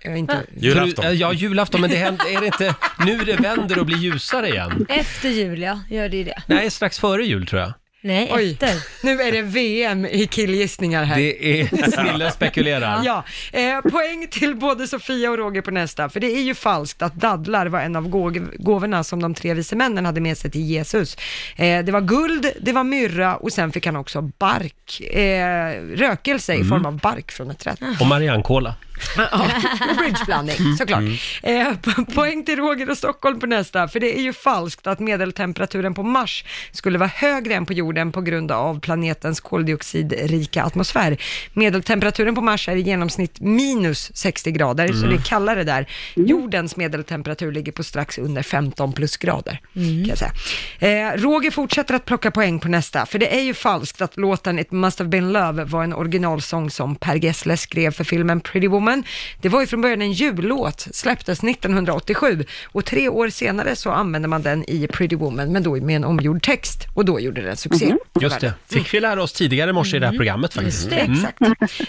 Speaker 3: Jag är inte...
Speaker 1: Julafton. Ja, julafton, men det händer, är det inte nu det vänder och blir ljusare igen?
Speaker 2: Efter jul, ja. Gör det ju det.
Speaker 1: Nej, strax före jul tror jag.
Speaker 2: Nej,
Speaker 3: Oj.
Speaker 2: efter.
Speaker 3: Nu är det VM i killgissningar här.
Speaker 1: Det är- Snille spekulerar.
Speaker 3: Ja, eh, poäng till både Sofia och Roger på nästa, för det är ju falskt att dadlar var en av gå- gåvorna som de tre vise männen hade med sig till Jesus. Eh, det var guld, det var myrra och sen fick han också bark, eh, rökelse i
Speaker 1: Mm.
Speaker 3: form av bark från ett träd.
Speaker 1: Och Marianne Cola.
Speaker 3: Ja, bridgeblandning, såklart. Eh, po- poäng till Roger och Stockholm på nästa, för det är ju falskt att medeltemperaturen på Mars skulle vara högre än på jorden på grund av planetens koldioxidrika atmosfär. Medeltemperaturen på Mars är i genomsnitt minus 60 grader, så
Speaker 16: Mm.
Speaker 3: det är kallare där. Jordens medeltemperatur ligger på strax under 15 plus grader.
Speaker 1: Mm.
Speaker 3: Kan jag säga. Eh, Roger fortsätter att plocka poäng på nästa, för det är ju falskt att låten It must have been love var en originalsång som Per Gessle skrev för filmen Pretty Woman. Det var ju från början en jullåt, släpptes 1987 och tre år senare så använde man den i Pretty Woman, men då med en omgjord text och då gjorde den succé.
Speaker 1: Just det. Fick vi lära oss tidigare i morse i Mm. det här programmet faktiskt.
Speaker 3: Just det, exakt.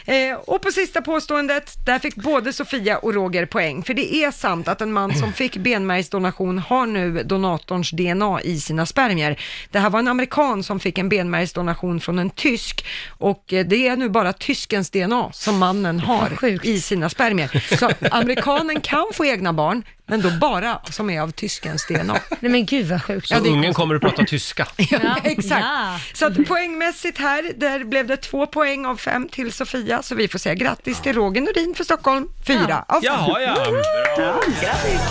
Speaker 3: Eh, och på sista påståendet, där fick både Sofia och Roger poäng. För det är sant att en man som fick benmärgsdonation har nu donatorns DNA i sina spermier. Det här var en amerikan som fick en benmärgsdonation från en tysk och eh, det är nu bara tyskens DNA som mannen har i sina spermier. Så amerikanen kan få egna barn, men då bara som är av tyskens DNA.
Speaker 2: Nej men gud vad sjukt.
Speaker 1: Så ungen kommer att prata tyska.
Speaker 3: Ja, exakt. Så att poängmässigt här, där blev det två poäng av fem till Sofia, så vi får säga grattis till Roger Nordin för Stockholm, fyra av fem.
Speaker 1: Jaha, ja.
Speaker 3: Ja, grattis.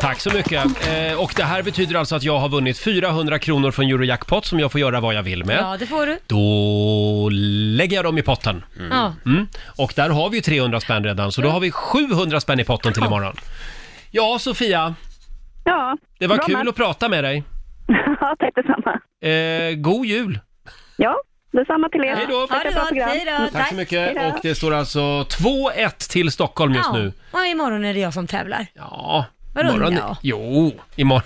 Speaker 1: Tack så mycket. Eh, och det här betyder alltså att jag har vunnit 400 kronor från Eurojackpot som jag får göra vad jag vill med.
Speaker 2: Ja, det får du.
Speaker 1: Då lägger jag dem i potten.
Speaker 2: Ja.
Speaker 1: Mm. Och där har vi ju 300 spänn redan, så då har vi 700 spänn i potten till imorgon. Ja, Sofia.
Speaker 7: Ja.
Speaker 1: Det var
Speaker 7: bra
Speaker 1: kul
Speaker 7: match.
Speaker 1: att prata med dig.
Speaker 7: Ja, tack detsamma.
Speaker 1: Eh, god jul!
Speaker 7: Ja, detsamma till er.
Speaker 2: Hej då.
Speaker 7: Fortsätt
Speaker 2: Ha det
Speaker 7: bra
Speaker 2: gott.
Speaker 7: program.
Speaker 2: Hej då.
Speaker 1: Tack så mycket.
Speaker 2: Hej då.
Speaker 1: Och det står alltså 2-1 till Stockholm just
Speaker 2: ja.
Speaker 1: nu.
Speaker 2: Och imorgon är det jag som tävlar.
Speaker 1: Ja.
Speaker 2: Vadå
Speaker 1: imorgon...
Speaker 2: ja?
Speaker 1: Jo, imorgon...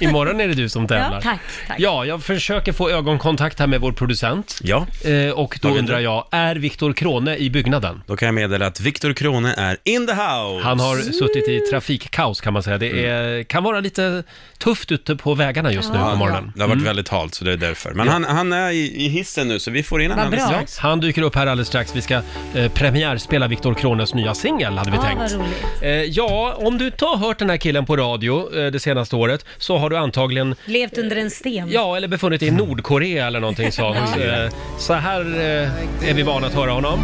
Speaker 1: imorgon är det du som tävlar.
Speaker 2: Ja, tack, tack.
Speaker 1: Ja, jag försöker få ögonkontakt här med vår producent. Eh,
Speaker 9: Ja.
Speaker 1: och då undrar jag, är Viktor Krone i byggnaden?
Speaker 9: Då kan jag meddela att Viktor Krone är in the house.
Speaker 1: Han har suttit i trafikkaos kan man säga. Det
Speaker 2: Mm.
Speaker 1: är, kan vara lite tufft ute på vägarna just nu på morgonen.
Speaker 9: Det har varit väldigt halt, så det är därför. Men
Speaker 1: Mm. Ja.
Speaker 9: han, han är i, i hissen nu, så vi får in
Speaker 1: Ja,
Speaker 9: honom alldeles strax.
Speaker 1: Han dyker upp här alldeles strax. Vi ska eh, premiärspela Viktor Krones nya singel, hade vi
Speaker 2: Ja, Ah,
Speaker 1: tänkt.
Speaker 2: vad roligt.
Speaker 1: Eh, ja, om du inte har hört den här killen på radio eh, det senaste året så har du antagligen
Speaker 2: Levt under en sten.
Speaker 1: Ja, eller befunnit dig i Nordkorea eller någonting sånt.
Speaker 2: Ja.
Speaker 1: Eh, Så här eh, är vi vana att höra honom.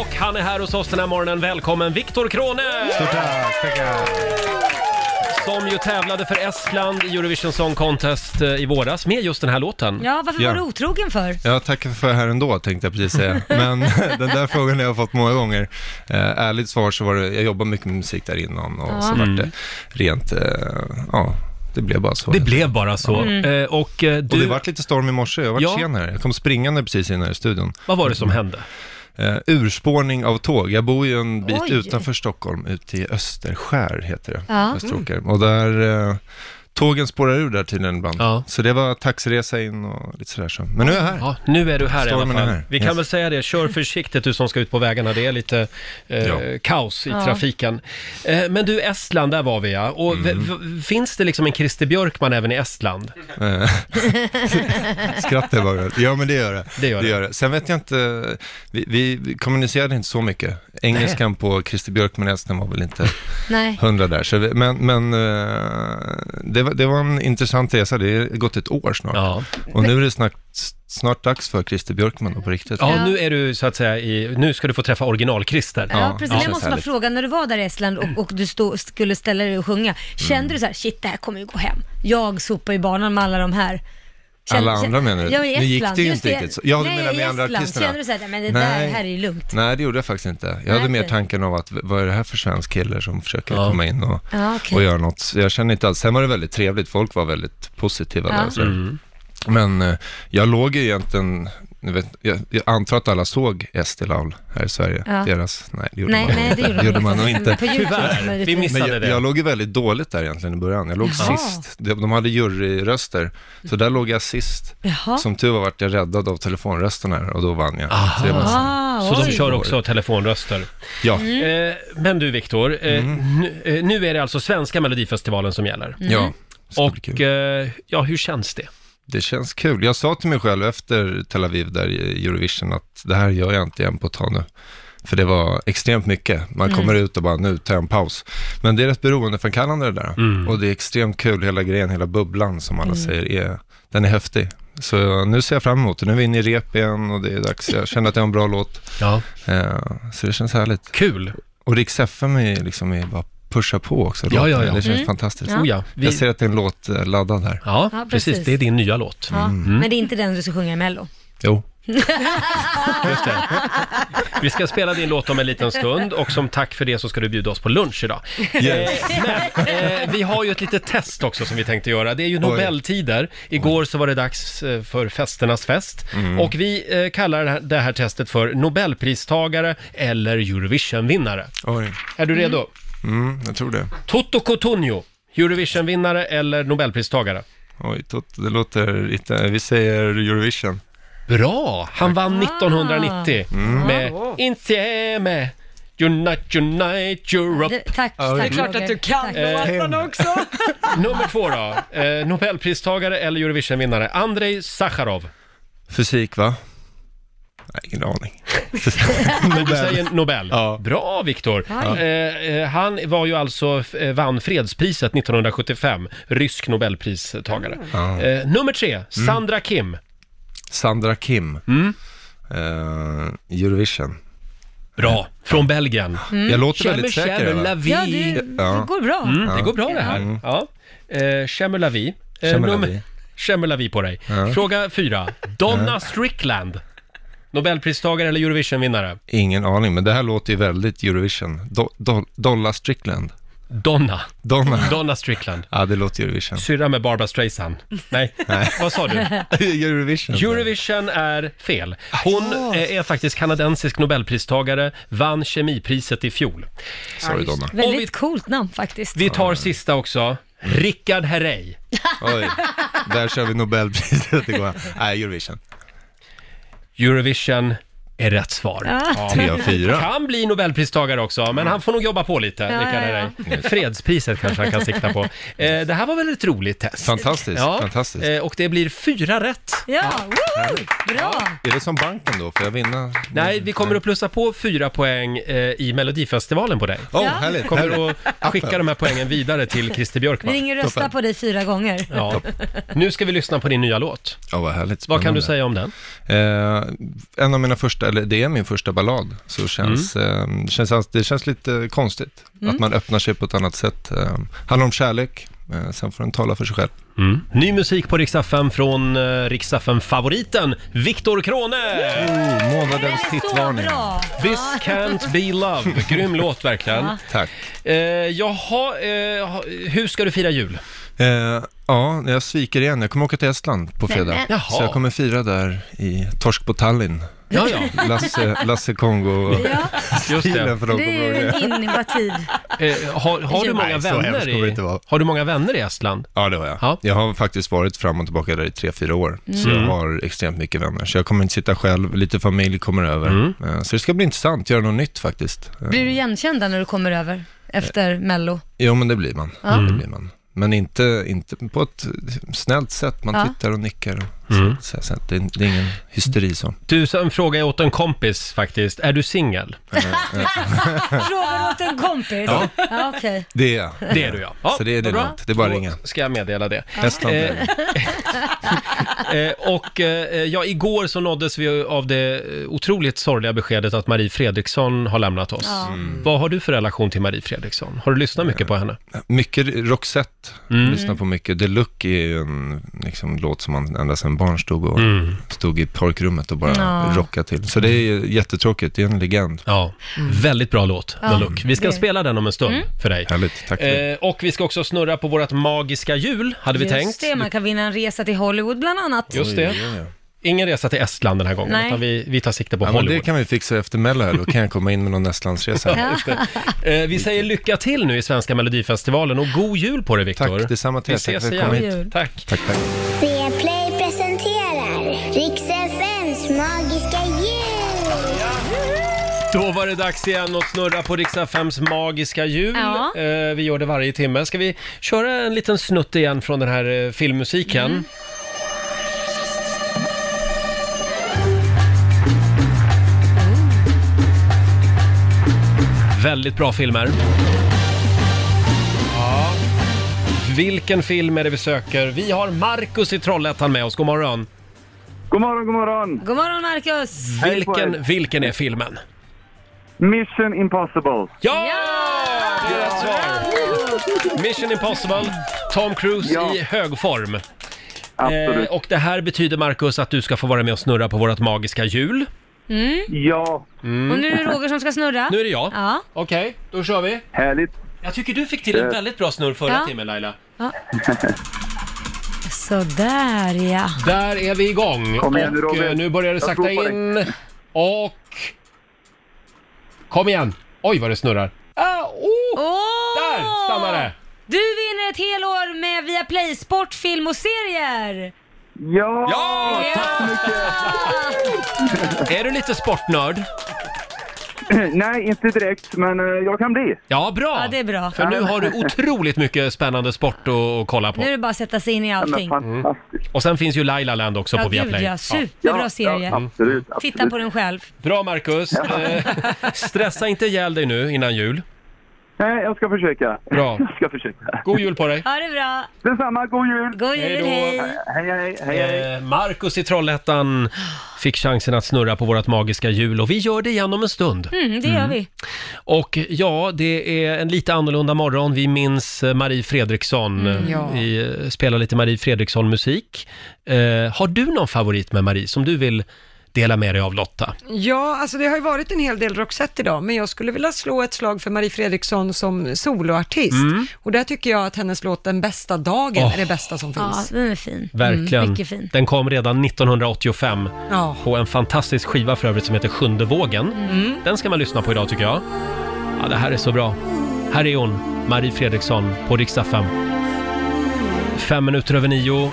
Speaker 1: Och han är här hos oss den här morgonen. Välkommen Viktor Krone! Stort tack! Som ju tävlade för Estland i Eurovision Song Contest eh, i våras med just den här låten.
Speaker 2: Ja, varför var du otrogen för?
Speaker 16: Jag tackar för här ändå, tänkte jag precis säga. Men den där frågan har jag fått många gånger. Eh, ärligt svar så var det, jag jobbade mycket med musik där innan och så
Speaker 2: Ja.
Speaker 16: var det rent, eh, ja, det blev bara så.
Speaker 1: Det blev bara så.
Speaker 16: Mm.
Speaker 1: Eh, och, eh, du...
Speaker 16: Och det vart lite storm i morse, jag var
Speaker 1: Ja.
Speaker 16: sen här. Jag kom springande precis in här i studion.
Speaker 1: Vad var det som hände?
Speaker 16: Eh, urspårning av tåg. Jag bor ju en bit
Speaker 2: Oj.
Speaker 16: utanför Stockholm, ute i Österskär heter det.
Speaker 2: Ja.
Speaker 16: Österåker. Och där, eh, tågen spårar ur där tydligen ibland. Så det var taxiresa in och lite sådär. Så. Men nu är jag här.
Speaker 1: Ja, nu är du här
Speaker 16: Stormen
Speaker 1: i alla
Speaker 16: är
Speaker 1: fall.
Speaker 16: här.
Speaker 1: Vi kan
Speaker 16: Yes.
Speaker 1: väl säga det, kör försiktigt du som ska ut på vägarna. Det är lite eh, kaos i
Speaker 16: Ja.
Speaker 1: trafiken. Eh, men du, Estland, där var vi ja. Och v-
Speaker 16: Mm.
Speaker 1: v- finns det liksom en Christer Björkman även i Estland?
Speaker 16: Eh, Skrattar bara. Ja, men det gör det. Det gör det. Sen vet jag inte, vi, vi vi kommunicerade inte så mycket. Engelskan på Christer Björkman i Estland var väl inte
Speaker 2: Nej.
Speaker 16: hundra där. Så vi, men men eh, det, var, det var en intressant resa, det har gått ett år snart. Och nu är det snart, snart dags för Christer Björkman då, på riktigt.
Speaker 1: Ja, nu är du så att säga i, nu ska du få träffa original-Christer.
Speaker 2: Ja, precis. Jag måste bara fråga, när du var där i Estland och, och du stå, skulle ställa dig och
Speaker 16: Mm.
Speaker 2: sjunga, kände du så här, shit det här kommer ju gå hem. Jag sopar i banan med alla de här.
Speaker 16: Alla andra menar du?
Speaker 2: Ja, i
Speaker 16: Nu
Speaker 2: Estland.
Speaker 16: gick det ju
Speaker 2: Just
Speaker 16: inte riktigt så. Ja,
Speaker 2: Ja,
Speaker 16: du
Speaker 2: Nej,
Speaker 16: menar
Speaker 2: i
Speaker 16: med andra
Speaker 2: Estland.
Speaker 16: artisterna?
Speaker 2: Kände du så här, men det där
Speaker 16: Nej.
Speaker 2: här är ju lugnt.
Speaker 16: Nej, det gjorde jag faktiskt inte. Jag hade
Speaker 2: Nej,
Speaker 16: mer
Speaker 2: inte.
Speaker 16: tanken av att vad är det här för svensk kille som försöker komma in och,
Speaker 2: Ja, okej.
Speaker 16: och göra något. Så Jag känner inte alls, sen var det väldigt trevligt, folk var väldigt positiva
Speaker 2: Ja.
Speaker 16: där. Så.
Speaker 2: Mm.
Speaker 16: Men eh, jag låg ju egentligen, ni vet, jag, jag antar att alla såg Esti Laul här i Sverige,
Speaker 2: Ja.
Speaker 16: deras, nej det gjorde
Speaker 2: Nej,
Speaker 16: man
Speaker 2: nej,
Speaker 16: nog
Speaker 2: det
Speaker 16: inte.
Speaker 2: gjorde de inte.
Speaker 16: man nog
Speaker 2: Men
Speaker 16: inte.
Speaker 2: på YouTube Tyvärr, kan man ju vi titta. missade
Speaker 16: Men jag,
Speaker 2: det.
Speaker 16: Jag låg ju väldigt dåligt där egentligen i början, jag låg
Speaker 2: Jaha.
Speaker 16: sist. De, de hade juryröster, så där låg jag sist.
Speaker 2: Jaha.
Speaker 16: Som tur var vart jag räddad av telefonrösten här och då vann jag. Så, det var så-
Speaker 2: Ah,
Speaker 1: Så de
Speaker 2: oj.
Speaker 1: kör också telefonröster.
Speaker 16: Ja.
Speaker 1: Eh, men du Viktor, eh, nu, eh, nu är det alltså svenska melodifestivalen som gäller.
Speaker 9: Mm.
Speaker 16: Ja.
Speaker 1: Mm. Och eh, ja, hur känns det?
Speaker 16: Det känns kul. Jag sa till mig själv efter Tel Aviv där i Eurovision att det här gör jag inte igen på ett tag nu. För det var extremt mycket. Man
Speaker 17: Mm.
Speaker 16: kommer ut och bara nu tar jag en paus. Men det är rätt beroendeframkallande det där.
Speaker 1: Mm.
Speaker 16: Och det är extremt kul, hela grejen, hela bubblan som alla
Speaker 17: Mm.
Speaker 16: säger är, den är häftig. Så nu ser jag fram emot det. Nu är vi inne i rep igen och det är dags. Jag känner att det är en bra låt.
Speaker 1: Ja.
Speaker 16: Eh, så det känns härligt.
Speaker 1: Kul!
Speaker 16: Och Rix FM är ju liksom är bara pusha på också.
Speaker 1: Ja, ja, ja.
Speaker 16: Det känns
Speaker 1: Mm.
Speaker 16: fantastiskt.
Speaker 2: Ja. Oh, ja. Vi-
Speaker 16: Jag ser att det är en låt eh, laddad här.
Speaker 1: Ja,
Speaker 2: Ja, precis. precis. Det är din
Speaker 1: nya låt.
Speaker 2: Ja,
Speaker 16: Mm.
Speaker 2: Men det är inte den du ska sjunga i Mello.
Speaker 16: Jo.
Speaker 1: Just det. Vi ska spela din låt om en liten stund och som tack för det så ska du bjuda oss på lunch idag.
Speaker 16: Yes.
Speaker 1: Eh, Men eh, vi har ju ett litet test också som vi tänkte göra. Det är ju Nobeltider. Igår så var det dags eh, för festernas fest
Speaker 16: Mm.
Speaker 1: och vi eh, kallar det här- det här testet för Nobelpristagare eller Eurovision-vinnare.
Speaker 16: Oj.
Speaker 1: Är du redo?
Speaker 16: Mm, jag tror det.
Speaker 1: Toto Cotugno, Eurovision-vinnare eller Nobelpristagare?
Speaker 16: Oj, tot- det låter lite... Vi säger Eurovision. Ah.
Speaker 1: Bra! Han vann 1990 med Insieme, Unite, Unite Europe.
Speaker 2: Det, tack,
Speaker 1: Ja,
Speaker 2: tack
Speaker 1: det är klart
Speaker 2: Roger.
Speaker 1: att du
Speaker 2: Tack.
Speaker 3: Eh,
Speaker 1: låtarna också. Nummer två då, eh, Nobelpristagare eller Eurovision-vinnare? Andrei Sacharov.
Speaker 16: Fysik, va? Nej, ingen aning.
Speaker 1: Men du
Speaker 16: Alltså,
Speaker 1: säger Nobel. Bra Viktor!
Speaker 16: Ja.
Speaker 1: Eh, eh, han var ju alltså, eh, vann fredspriset 1975, rysk nobelpristagare.
Speaker 16: Ja. Mm.
Speaker 1: Eh, nummer tre, Sandra Kim. Mm.
Speaker 16: Sandra Kim. Eh, Eurovision.
Speaker 1: Bra, från Belgien.
Speaker 16: Mm. Jag låter väldigt säker, va?
Speaker 1: la vie.
Speaker 16: Ja, det- det går bra.
Speaker 1: Mm, det
Speaker 16: Ja.
Speaker 1: går bra det här.
Speaker 16: Mm.
Speaker 1: Ja. Eh, Chemmer la vie. Eh,
Speaker 16: Chemmer la
Speaker 1: nummer-
Speaker 16: vie.
Speaker 1: Chemmer la vie på dig.
Speaker 16: Ja.
Speaker 1: Fråga fyra. Donna Strickland. Nobelpristagare eller Eurovisionvinnare?
Speaker 16: Ingen aning, men det här låter ju väldigt Eurovision. Do, do, Dolla Strickland.
Speaker 1: Donna.
Speaker 16: Donna.
Speaker 1: Donna Strickland.
Speaker 16: Ja, det låter Eurovision.
Speaker 1: Syrra med Barbara Streisand. Nej, vad sa du?
Speaker 16: Eurovision.
Speaker 1: Eurovision är fel.
Speaker 16: Ah,
Speaker 1: Hon eh, är faktiskt kanadensisk nobelpristagare, vann kemipriset i fjol.
Speaker 16: Sorry Donna.
Speaker 2: Väldigt coolt namn faktiskt.
Speaker 1: Vi tar sista också. Rickard Herrey.
Speaker 16: Oj, där kör vi Nobelpriset igår. Nej, Eurovision.
Speaker 1: Eurovision är rätt svar.
Speaker 16: Ah. Tre av fyra.
Speaker 1: Kan bli Nobelpristagare också,
Speaker 16: Mm.
Speaker 1: men han får nog jobba på lite,
Speaker 16: Ja,
Speaker 1: Rickard
Speaker 16: ja,
Speaker 1: Herrey.
Speaker 16: ja.
Speaker 1: Fredspriset kanske han kan sikta på. Eh, det här var väl ett roligt test?
Speaker 16: Fantastiskt, fantastiskt.
Speaker 1: eh, Och det blir fyra rätt.
Speaker 2: Ja, woho! Bra!
Speaker 16: Är det som banken då? Får jag vinna?
Speaker 1: Nej, vi kommer att plussa på fyra poäng eh, i Melodifestivalen på dig.
Speaker 16: Åh, Ja. härligt,
Speaker 1: Kommer
Speaker 16: härligt.
Speaker 1: att skicka de här poängen vidare till
Speaker 2: Vi
Speaker 1: Christer Björkman.
Speaker 2: ringer och röstar på dig fyra gånger.
Speaker 1: Ja. Nu ska vi lyssna på din nya låt.
Speaker 16: Ja, vad härligt.
Speaker 1: Vad kan du
Speaker 16: spännande.
Speaker 1: säga om den?
Speaker 16: Eh, en av mina första, eller det är min första ballad, så känns, eh, känns det känns lite konstigt
Speaker 1: Mm.
Speaker 16: att man öppnar sig på ett annat sätt. Eh, handlar om kärlek, eh, sen får den tala för sig själv.
Speaker 1: Mm. Ny musik på Rix FM från eh, Rix FM-favoriten Viktor Krone!
Speaker 16: Oh, månadens hitvarning.
Speaker 2: bra.
Speaker 1: This can't be love. Grym låt verkligen.
Speaker 2: Ja.
Speaker 16: Tack.
Speaker 1: Eh, jaha, eh, ha- hur ska du fira jul?
Speaker 16: Eh, ja, jag sviker igen. Jag kommer åka till Estland på
Speaker 1: Nej,
Speaker 16: fredag.
Speaker 1: men-
Speaker 16: Så jag kommer fira där i Torsk på Tallinn.
Speaker 1: Ja, ja.
Speaker 16: Lasse, Lasse Kongo
Speaker 2: Ja.
Speaker 1: Just det.
Speaker 16: stilen för de
Speaker 2: Det
Speaker 16: kommer
Speaker 2: är
Speaker 16: ihåg
Speaker 2: ju
Speaker 16: det.
Speaker 2: en innovativ.
Speaker 1: Eh, har, har,
Speaker 2: Nej,
Speaker 1: du många
Speaker 16: så hemskt
Speaker 1: vänner
Speaker 16: kommer det
Speaker 1: i,
Speaker 16: inte vara.
Speaker 1: har du många vänner i Estland?
Speaker 16: Ja, det har jag. Jag har faktiskt varit fram och tillbaka där i tre, fyra år. Så
Speaker 1: Mm.
Speaker 16: jag har extremt mycket vänner. Så jag kommer inte sitta själv, lite familj kommer över. Eh, Så det ska bli intressant, göra något nytt faktiskt. Eh,
Speaker 2: Blir du igenkänd där när du kommer över efter Mello?
Speaker 16: Jo, men det blir man.
Speaker 2: Ja.
Speaker 16: Det blir man. Men inte, inte på ett snällt sätt. Man
Speaker 2: Ja.
Speaker 16: tittar och nickar. Och så, så, så, det, är- det är ingen hysteri så.
Speaker 1: Du, så en fråga åt en kompis faktiskt. Är du singel?
Speaker 2: Frågar åt en kompis?
Speaker 1: Ja.
Speaker 2: ja okej.
Speaker 16: Det är jag.
Speaker 1: Det är du ja.
Speaker 16: Så det är det
Speaker 1: vad bra.
Speaker 16: lugnt. Det är bara att
Speaker 1: Då
Speaker 16: ringa.
Speaker 1: ska jag meddela det.
Speaker 16: Estland.
Speaker 1: Eh, eh, och eh, ja, igår så nåddes vi av det eh, otroligt sorgliga beskedet att Marie Fredriksson har lämnat oss. Mm.
Speaker 2: Ja. Mm.
Speaker 1: Vad har du för relation till Marie Fredriksson? Har du lyssnat mycket
Speaker 16: Eh,
Speaker 1: på henne?
Speaker 16: Mycket Roxette, mm. lyssnar på mycket. The Look är ju en liksom, låt som man ända sedan barn stod, och, stod i parkrummet och bara
Speaker 1: Ja.
Speaker 16: rockade till. Så det är ju jättetråkigt, det är en legend.
Speaker 1: Ja, väldigt bra låt,
Speaker 16: Ja,
Speaker 1: The Look. Vi ska
Speaker 16: det-
Speaker 1: spela den om en stund
Speaker 2: Mm.
Speaker 1: för dig.
Speaker 16: Härligt, tack.
Speaker 1: Eh, och vi ska också snurra på vårt magiska hjul, hade vi
Speaker 2: Just
Speaker 1: tänkt.
Speaker 2: det, man kan vinna en resa till Hollywood bland annat.
Speaker 1: Just det. Ingen resa till Estland den här gången,
Speaker 2: Nej.
Speaker 1: utan vi, vi tar sikte på
Speaker 16: Ja, men
Speaker 1: Hollywood.
Speaker 16: det kan vi fixa efter Mello här, då kan jag komma in med någon Estlandsresa.
Speaker 1: Ja, just det. Eh, vi säger lycka till nu i Svenska Melodifestivalen och god jul på dig Viktor.
Speaker 16: Tack, detsamma till
Speaker 1: Vi
Speaker 16: er. Tack
Speaker 1: ses
Speaker 16: för att jag kom
Speaker 1: igen.
Speaker 16: hit.
Speaker 1: Tack.
Speaker 16: Tack, tack.
Speaker 5: Viaplay presenterar Rix FMs magiska jul.
Speaker 1: Då var det dags igen att snurra på Riksa 5s magiska hjul.
Speaker 5: Ja.
Speaker 1: Eh, vi gör det varje timme. Ska vi köra en liten snutt igen från den här eh, filmmusiken? Mm. Väldigt bra filmer. Ja. Vilken film är det vi söker? Vi har Markus i Trollhättan med oss. God morgon.
Speaker 17: God morgon, god morgon.
Speaker 2: God morgon Marcus!
Speaker 1: Vilken, vilken är filmen?
Speaker 17: Mission Impossible.
Speaker 1: Ja! Det är rätt svar. Mission Impossible, Tom Cruise i hög form. Eh,
Speaker 17: Absolut.
Speaker 1: och det här betyder, Marcus, att du ska få vara med och snurra på vårt magiska hjul.
Speaker 2: Mm.
Speaker 17: Ja.
Speaker 2: Och nu är det Roger som ska snurra.
Speaker 1: Mm. Nu är det jag.
Speaker 2: Ja.
Speaker 1: Okej, då kör vi.
Speaker 17: Härligt.
Speaker 1: Jag tycker du fick till en
Speaker 17: Eh.
Speaker 1: väldigt bra snurr förra
Speaker 2: Ja.
Speaker 1: timmen, Laila.
Speaker 2: ja. Sådär ja.
Speaker 1: Där är vi igång.
Speaker 2: Kom igen nu,
Speaker 1: och
Speaker 2: Roger.
Speaker 1: eh, nu börjar det
Speaker 2: Jag
Speaker 1: sakta
Speaker 2: tror på dig.
Speaker 1: in. Och... Kom igen! Oj, vad det snurrar. Ah, oh. Där stannar det!
Speaker 2: Du vinner ett helår med Viaplay Sport, film och serier!
Speaker 17: Ja!
Speaker 1: Ja! Tack så mycket! är du lite sportnörd?
Speaker 17: Nej, inte direkt, men eh, jag kan bli.
Speaker 1: Ja, bra!
Speaker 2: Ja, det är bra.
Speaker 1: För nu har du otroligt mycket spännande sport att, att kolla på.
Speaker 2: Nu är det bara att sätta sig in i allting.
Speaker 1: Mm. Och sen finns ju Laila Land också
Speaker 2: Ja,
Speaker 1: på
Speaker 2: gud,
Speaker 1: Viaplay.
Speaker 2: ja. Superbra Ja, serie. ja,
Speaker 1: absolut,
Speaker 2: Titta på den själv.
Speaker 1: Bra Marcus! Eh, Stressa inte ihjäl dig nu innan jul.
Speaker 17: Nej, jag ska försöka.
Speaker 1: Bra.
Speaker 17: Jag ska försöka.
Speaker 1: God jul på dig.
Speaker 2: Ha det bra.
Speaker 17: Detsamma, god jul.
Speaker 2: God jul, hej.
Speaker 17: Hej, hej, hej. hej.
Speaker 1: Eh, Marcus i Trollhättan fick chansen att snurra på vårt magiska hjul och vi gör det igen om en stund.
Speaker 2: Mm, det gör
Speaker 1: Mm.
Speaker 2: vi.
Speaker 1: Och ja, det är en lite annorlunda morgon. Vi minns eh, Marie Fredriksson.
Speaker 2: Mm, ja.
Speaker 1: Vi eh, spelar lite Marie Fredriksson-musik. Eh, har du någon favorit med Marie som du vill dela med dig av Lotta?
Speaker 3: Ja, alltså det har ju varit en hel del Roxette idag, men jag skulle vilja slå ett slag för Marie Fredriksson som soloartist.
Speaker 1: Mm.
Speaker 3: Och där tycker jag att hennes låt Den bästa dagen
Speaker 1: Åh.
Speaker 3: är det bästa som
Speaker 2: Ja,
Speaker 3: finns.
Speaker 2: den är fin. Mm,
Speaker 1: Verkligen.
Speaker 2: Mycket fin.
Speaker 1: Den kom redan 1985
Speaker 3: Ja.
Speaker 1: på en fantastisk skiva för övrigt som heter Sjunde vågen.
Speaker 2: Mm.
Speaker 1: Den ska man lyssna på idag tycker jag. Ja, det här är så bra. Här är hon, Marie Fredriksson på riksdag 5. Fem minuter över nio.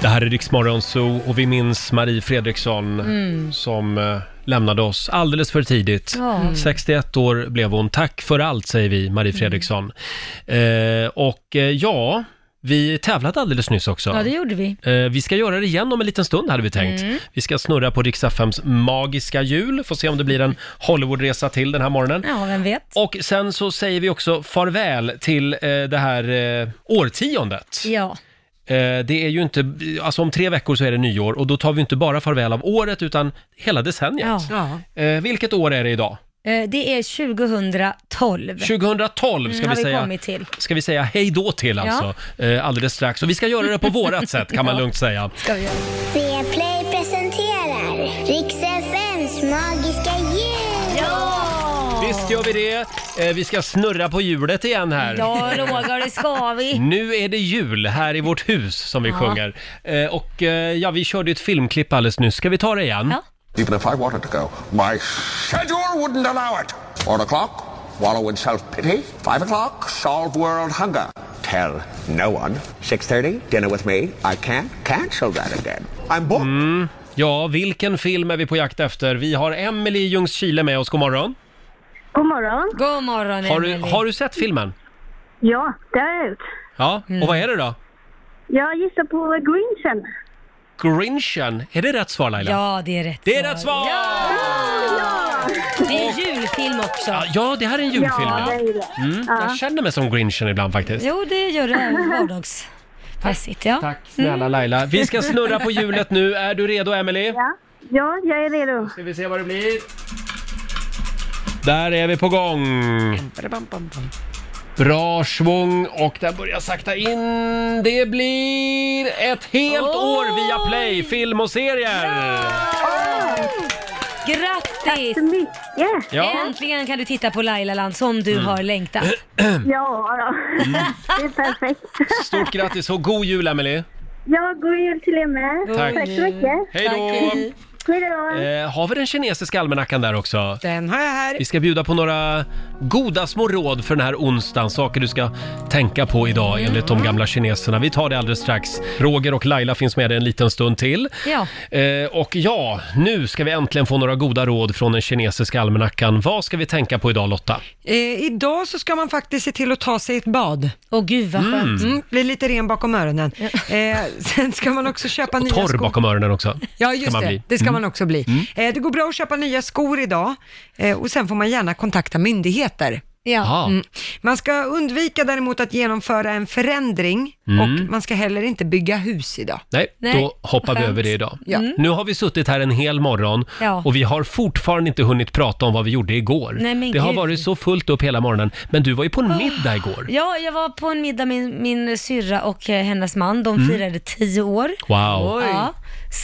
Speaker 1: Det här är Riksmorgon Zoo och vi minns Marie Fredriksson
Speaker 2: Mm.
Speaker 1: som eh, lämnade oss alldeles för tidigt.
Speaker 2: Ja. Mm.
Speaker 1: 61 år blev hon. Tack för allt säger vi, Marie Fredriksson. Eh, och eh, ja, vi tävlade alldeles nyss också.
Speaker 2: Ja, det gjorde vi.
Speaker 1: Eh, Vi ska göra det igen om en liten stund hade vi tänkt.
Speaker 2: Mm.
Speaker 1: Vi ska snurra på Rix FMs magiska hjul. Får se om det blir en Hollywoodresa till den här morgonen.
Speaker 2: Ja, vem vet.
Speaker 1: Och sen så säger vi också farväl till eh, det här eh, årtiondet.
Speaker 2: Ja.
Speaker 1: Eh, det är ju inte, alltså om tre veckor så är det nyår och då tar vi inte bara farväl av året utan hela decenniet.
Speaker 2: Ja.
Speaker 1: Eh, vilket år är det idag?
Speaker 2: Eh, Det är 2012.
Speaker 1: 2012
Speaker 2: Mm,
Speaker 1: ska vi
Speaker 2: har vi
Speaker 1: säga.
Speaker 2: kommit till.
Speaker 1: Ska vi säga hej då till alltså, eh, alldeles strax. Och vi ska göra det på vårat sätt kan man
Speaker 5: Ja.
Speaker 1: lugnt säga.
Speaker 5: Viaplay presenterar Rix FMs magiska jul!
Speaker 1: Visst gör vi det. Eh, vi ska snurra på hjulet igen här.
Speaker 2: Ja, Roger, det ska vi.
Speaker 1: Nu är det jul här i vårt hus som vi
Speaker 2: Ja.
Speaker 1: sjunger. Eh, och eh, ja, vi körde ju ett filmklipp alldeles nyss. Ska vi ta det igen?
Speaker 18: Even if I wanted to go, my schedule wouldn't allow it. Four o'clock, wallow in self-pity. Five o'clock, solve world hunger. Tell no one. Six thirty, dinner with me. I can't cancel that again. I'm booked.
Speaker 1: Mm. Ja, vilken film är vi på jakt efter? Vi har Emily i Ljungskile med oss. God morgon.
Speaker 7: God morgon.
Speaker 2: God morgon,
Speaker 1: Har du, har du sett filmen?
Speaker 7: Ja, det har jag gjort.
Speaker 1: Ja,
Speaker 2: Mm.
Speaker 1: och vad är det då?
Speaker 7: Jag gissar på Grinchen.
Speaker 1: Grinchen. Är det rätt svar Laila?
Speaker 2: Ja, det är rätt
Speaker 1: Det är rätt svar!
Speaker 2: Ja! Det är en julfilm också.
Speaker 1: Ja, det här är en julfilm.
Speaker 2: Ja, det är det.
Speaker 1: Mm,
Speaker 2: Ja.
Speaker 1: Jag känner mig som Grinchen ibland faktiskt.
Speaker 2: Jo, det gör det även vardagsmässigt. Ja. Tack
Speaker 1: Snälla Laila, vi ska snurra på hjulet nu. Är du redo Emily?
Speaker 7: Ja, jag är redo.
Speaker 1: Ska vi se vad det blir. Där är vi på gång. Bra svung och den börjar sakta in. Det blir ett helt år via Play, film och serier.
Speaker 2: Grattis! Tack så
Speaker 7: mycket!
Speaker 1: Ja.
Speaker 2: Äntligen kan du titta på Lailaland som
Speaker 1: Mm.
Speaker 2: du har längtat.
Speaker 7: Ja, då. det är perfekt.
Speaker 1: Stort grattis och god jul Emily.
Speaker 7: Ja, god jul till er med.
Speaker 1: Tack.
Speaker 7: Tack så mycket.
Speaker 1: Hej då.
Speaker 7: Hej då.
Speaker 1: Eh, har vi den kinesiska almanackan där också?
Speaker 3: Den har jag här.
Speaker 1: Vi ska bjuda på några goda små råd för den här onsdagen. Saker du ska tänka på idag enligt de gamla kineserna. Vi tar det alldeles strax. Roger och Laila finns med dig en liten stund till.
Speaker 2: Ja.
Speaker 1: Eh, och ja, nu ska vi äntligen få några goda råd från den kinesiska almanackan. Vad ska vi tänka på idag Lotta?
Speaker 3: Eh, idag så ska man faktiskt se till att ta sig ett bad.
Speaker 2: Åh gud
Speaker 1: vad skönt. Mm.
Speaker 3: bli lite ren bakom öronen. Eh, sen ska man också köpa nya
Speaker 1: Torr
Speaker 3: skor.
Speaker 1: bakom öronen också.
Speaker 3: Ja,
Speaker 1: ska
Speaker 3: just
Speaker 1: man
Speaker 3: det.
Speaker 1: bli.
Speaker 3: Det ska
Speaker 1: Mm.
Speaker 3: man också bli. Eh, det går bra att köpa nya skor idag eh, och sen får man gärna kontakta myndigheter.
Speaker 1: Ja.
Speaker 3: Mm. Man ska undvika däremot att genomföra en förändring
Speaker 1: Mm.
Speaker 3: och man ska heller inte bygga hus idag.
Speaker 1: Nej,
Speaker 3: Nej,
Speaker 1: då hoppar vi
Speaker 3: skönt.
Speaker 1: över det idag.
Speaker 3: Ja. Mm.
Speaker 1: Nu har vi suttit här en hel morgon
Speaker 2: Ja.
Speaker 1: och vi har fortfarande inte hunnit prata om vad vi gjorde igår.
Speaker 2: Nej, men
Speaker 1: det har
Speaker 2: gud.
Speaker 1: varit så fullt upp hela morgonen. Men du var ju på en middag igår.
Speaker 2: Ja, jag var på en middag med min syrra och eh, hennes man. De
Speaker 1: Mm.
Speaker 2: firade tio år.
Speaker 1: Wow. Oj.
Speaker 2: Ja,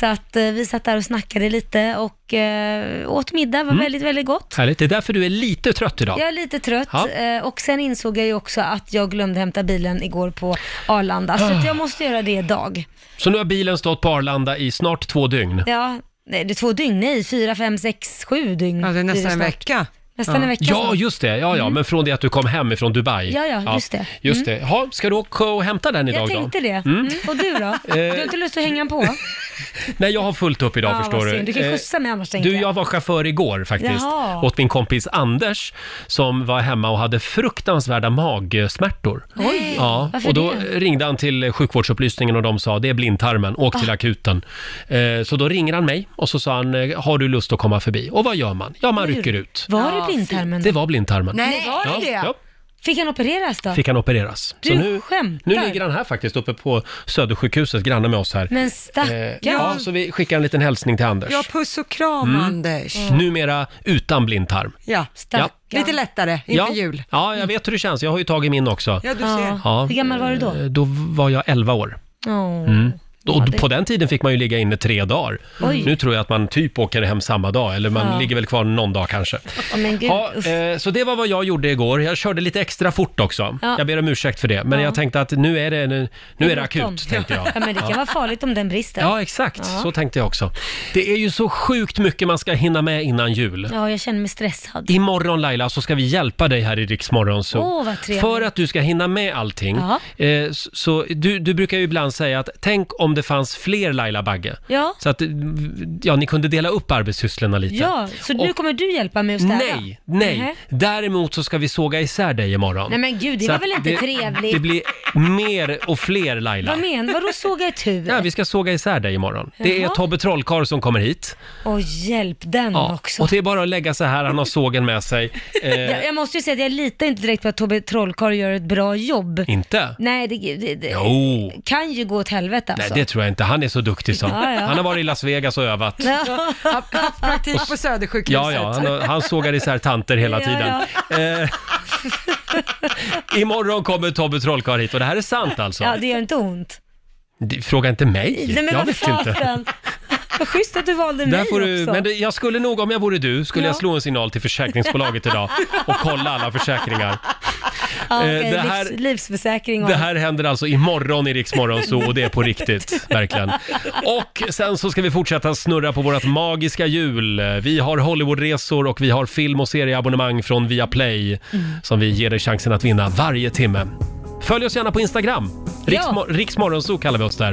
Speaker 2: så att eh, vi satt där och snackade lite och eh, åt middag. var
Speaker 1: Mm.
Speaker 2: väldigt, väldigt gott.
Speaker 1: Härligt, det är därför du är lite trött idag.
Speaker 2: Jag är lite trött
Speaker 1: Ja.
Speaker 2: eh, och sen insåg jag ju också att jag glömde hämta bilen igår på Arlanda. Så
Speaker 1: Ah.
Speaker 2: att jag måste göra det idag.
Speaker 1: Så nu har bilen stått på Arlanda i snart två dygn.
Speaker 2: Ja, nej, det är två dygn, nej, fyra, fem, sex, sju dygn. Ja,
Speaker 3: det är nästan en
Speaker 1: vecka.
Speaker 2: Nästan en vecka.
Speaker 1: Ja,
Speaker 2: snart.
Speaker 1: just det. Ja, ja, men från det att du kom hem ifrån Dubai.
Speaker 2: Mm. Ja, ja, just det.
Speaker 1: Just
Speaker 2: Mm.
Speaker 1: det. Ha, ska du åka och hämta den idag
Speaker 2: Jag
Speaker 1: då?
Speaker 2: tänkte det.
Speaker 1: Mm. Eh,
Speaker 2: Mm. Och du då? Du har inte lust att hänga på?
Speaker 1: Nej, jag har fullt upp idag
Speaker 2: Ja,
Speaker 1: förstår
Speaker 2: vad
Speaker 1: du.
Speaker 2: synd. Du kan ju
Speaker 1: Eh,
Speaker 2: skjutsa mig annars, tänkte
Speaker 1: Du,
Speaker 2: jag.
Speaker 1: jag var chaufför igår faktiskt.
Speaker 2: Jaha.
Speaker 1: Åt min kompis Anders som var hemma och hade fruktansvärda magsmärtor.
Speaker 2: Oj,
Speaker 1: Ja,
Speaker 2: varför
Speaker 1: och då
Speaker 2: det?
Speaker 1: ringde han till sjukvårdsupplysningen och de sa det är blindtarmen, åk till
Speaker 2: Ah.
Speaker 1: akuten. Eh, Så då ringer han mig och så sa han, eh, har du lust att komma förbi? Och vad gör man? Ja, man
Speaker 2: Oj.
Speaker 1: rycker ut.
Speaker 2: Var det blindtarmen?
Speaker 1: Det var blindtarmen.
Speaker 2: Nej, var det
Speaker 1: ja,
Speaker 2: det?
Speaker 1: Ja.
Speaker 2: Fick han opereras då?
Speaker 1: Fick han opereras.
Speaker 2: Du
Speaker 1: nu,
Speaker 2: skämtar.
Speaker 1: nu ligger han här faktiskt, uppe på Södersjukhuset, granne med oss här.
Speaker 2: Men
Speaker 1: Eh,
Speaker 2: stackarn.
Speaker 1: ja, så vi skickar en liten hälsning till Anders.
Speaker 3: Ja, puss och kram
Speaker 1: Mm.
Speaker 3: Anders.
Speaker 1: Numera utan blindtarm.
Speaker 3: Ja,
Speaker 1: Ja.
Speaker 3: lite lättare inför
Speaker 1: ja.
Speaker 3: jul.
Speaker 1: Ja, jag vet hur det känns. Jag har ju tagit min också.
Speaker 3: Ja, du ser.
Speaker 1: Ja.
Speaker 2: Hur gammal var du då?
Speaker 1: Eh, Då var jag 11 år.
Speaker 2: Åh.
Speaker 1: Mm. Och
Speaker 2: Ja, det-
Speaker 1: På den tiden fick man ju ligga inne tre dagar.
Speaker 2: Oj.
Speaker 1: Nu tror jag att man typ åker hem samma dag, eller man
Speaker 2: Ja.
Speaker 1: ligger väl kvar någon dag kanske.
Speaker 2: Ja, men gud.
Speaker 1: Ja, eh, så det var vad jag gjorde igår. Jag körde lite extra fort också.
Speaker 2: Ja.
Speaker 1: Jag ber om ursäkt för det, men
Speaker 2: Ja.
Speaker 1: jag tänkte att nu är det, nu, nu är det
Speaker 2: bråttom.
Speaker 1: akut, tänkte jag.
Speaker 2: Ja, men det kan
Speaker 1: Ja.
Speaker 2: vara farligt om den brister.
Speaker 1: Ja, exakt.
Speaker 2: Ja.
Speaker 1: Så tänkte jag också. Det är ju så sjukt mycket man ska hinna med innan jul.
Speaker 2: Ja, jag känner mig stressad.
Speaker 1: Imorgon Laila så ska vi hjälpa dig här i Rix Morgon Zoo.
Speaker 2: Åh, vad trevligt.
Speaker 1: För att du ska hinna med allting.
Speaker 2: Ja.
Speaker 1: Eh, s- så du, du brukar ju ibland säga att tänk om det fanns fler Laila Bagge.
Speaker 2: Ja.
Speaker 1: Så att ja, ni kunde dela upp arbetssysslorna lite.
Speaker 2: Ja, så nu
Speaker 1: Och-
Speaker 2: kommer du hjälpa mig att städa?
Speaker 1: Nej, nej.
Speaker 2: Mhm.
Speaker 1: Däremot så ska vi såga isär dig imorgon.
Speaker 2: Nej, men gud, det
Speaker 1: Så
Speaker 2: var
Speaker 1: att
Speaker 2: väl inte trevligt?
Speaker 1: Det blir mer och fler Laila.
Speaker 2: Vad menar Vadå såga i tur?
Speaker 1: Ja, vi ska såga isär dig imorgon. Det är
Speaker 2: Jaha.
Speaker 1: Tobbe Trollkarl som kommer hit.
Speaker 2: Och hjälp den
Speaker 1: Ja,
Speaker 2: också.
Speaker 1: och det är bara att lägga sig här, han har sågen med sig. Eh,
Speaker 2: Jag, jag måste ju säga att jag litar inte direkt på att Tobbe Trollkarl gör ett bra jobb.
Speaker 1: Inte?
Speaker 2: Nej, det, det, det
Speaker 1: Mm. Jo.
Speaker 2: kan ju gå åt helvete
Speaker 1: Nej,
Speaker 2: alltså.
Speaker 1: det tror jag inte. Han är så duktig så.
Speaker 2: Ja, ja.
Speaker 1: Han har varit i Las Vegas och övat.
Speaker 2: Ja.
Speaker 3: Praktik på Södersjukhuset.
Speaker 1: Ja, ja, han, han sågar isär tanter hela
Speaker 3: Ja,
Speaker 1: tiden. Eh, imorgon kommer Tobbe Trollkarl hit och det här är sant alltså.
Speaker 2: Ja, det gör inte ont.
Speaker 1: Det- Fråga inte mig.
Speaker 2: Nej, men
Speaker 1: jag
Speaker 2: vad
Speaker 1: vet
Speaker 2: fasen.
Speaker 1: inte.
Speaker 2: Vad schysst att du valde
Speaker 1: Där
Speaker 2: mig
Speaker 1: får du,
Speaker 2: också.
Speaker 1: men det, jag skulle nog, om jag vore du, skulle
Speaker 2: Ja.
Speaker 1: jag slå en signal till försäkringsbolaget idag och kolla alla försäkringar.
Speaker 2: ja,
Speaker 1: eh,
Speaker 2: okej,
Speaker 1: det här-
Speaker 2: livs, livsförsäkring och...
Speaker 1: Det här händer alltså imorgon i Rix Morgon Zoo och det är på riktigt, verkligen. Och sen så ska vi fortsätta snurra på vårt magiska hjul. Vi har Hollywoodresor och vi har film och serieabonnemang från Viaplay som vi ger dig chansen att vinna varje timme. Följ oss gärna på Instagram. Riksmo- Riksmorgonzoo kallar vi oss där.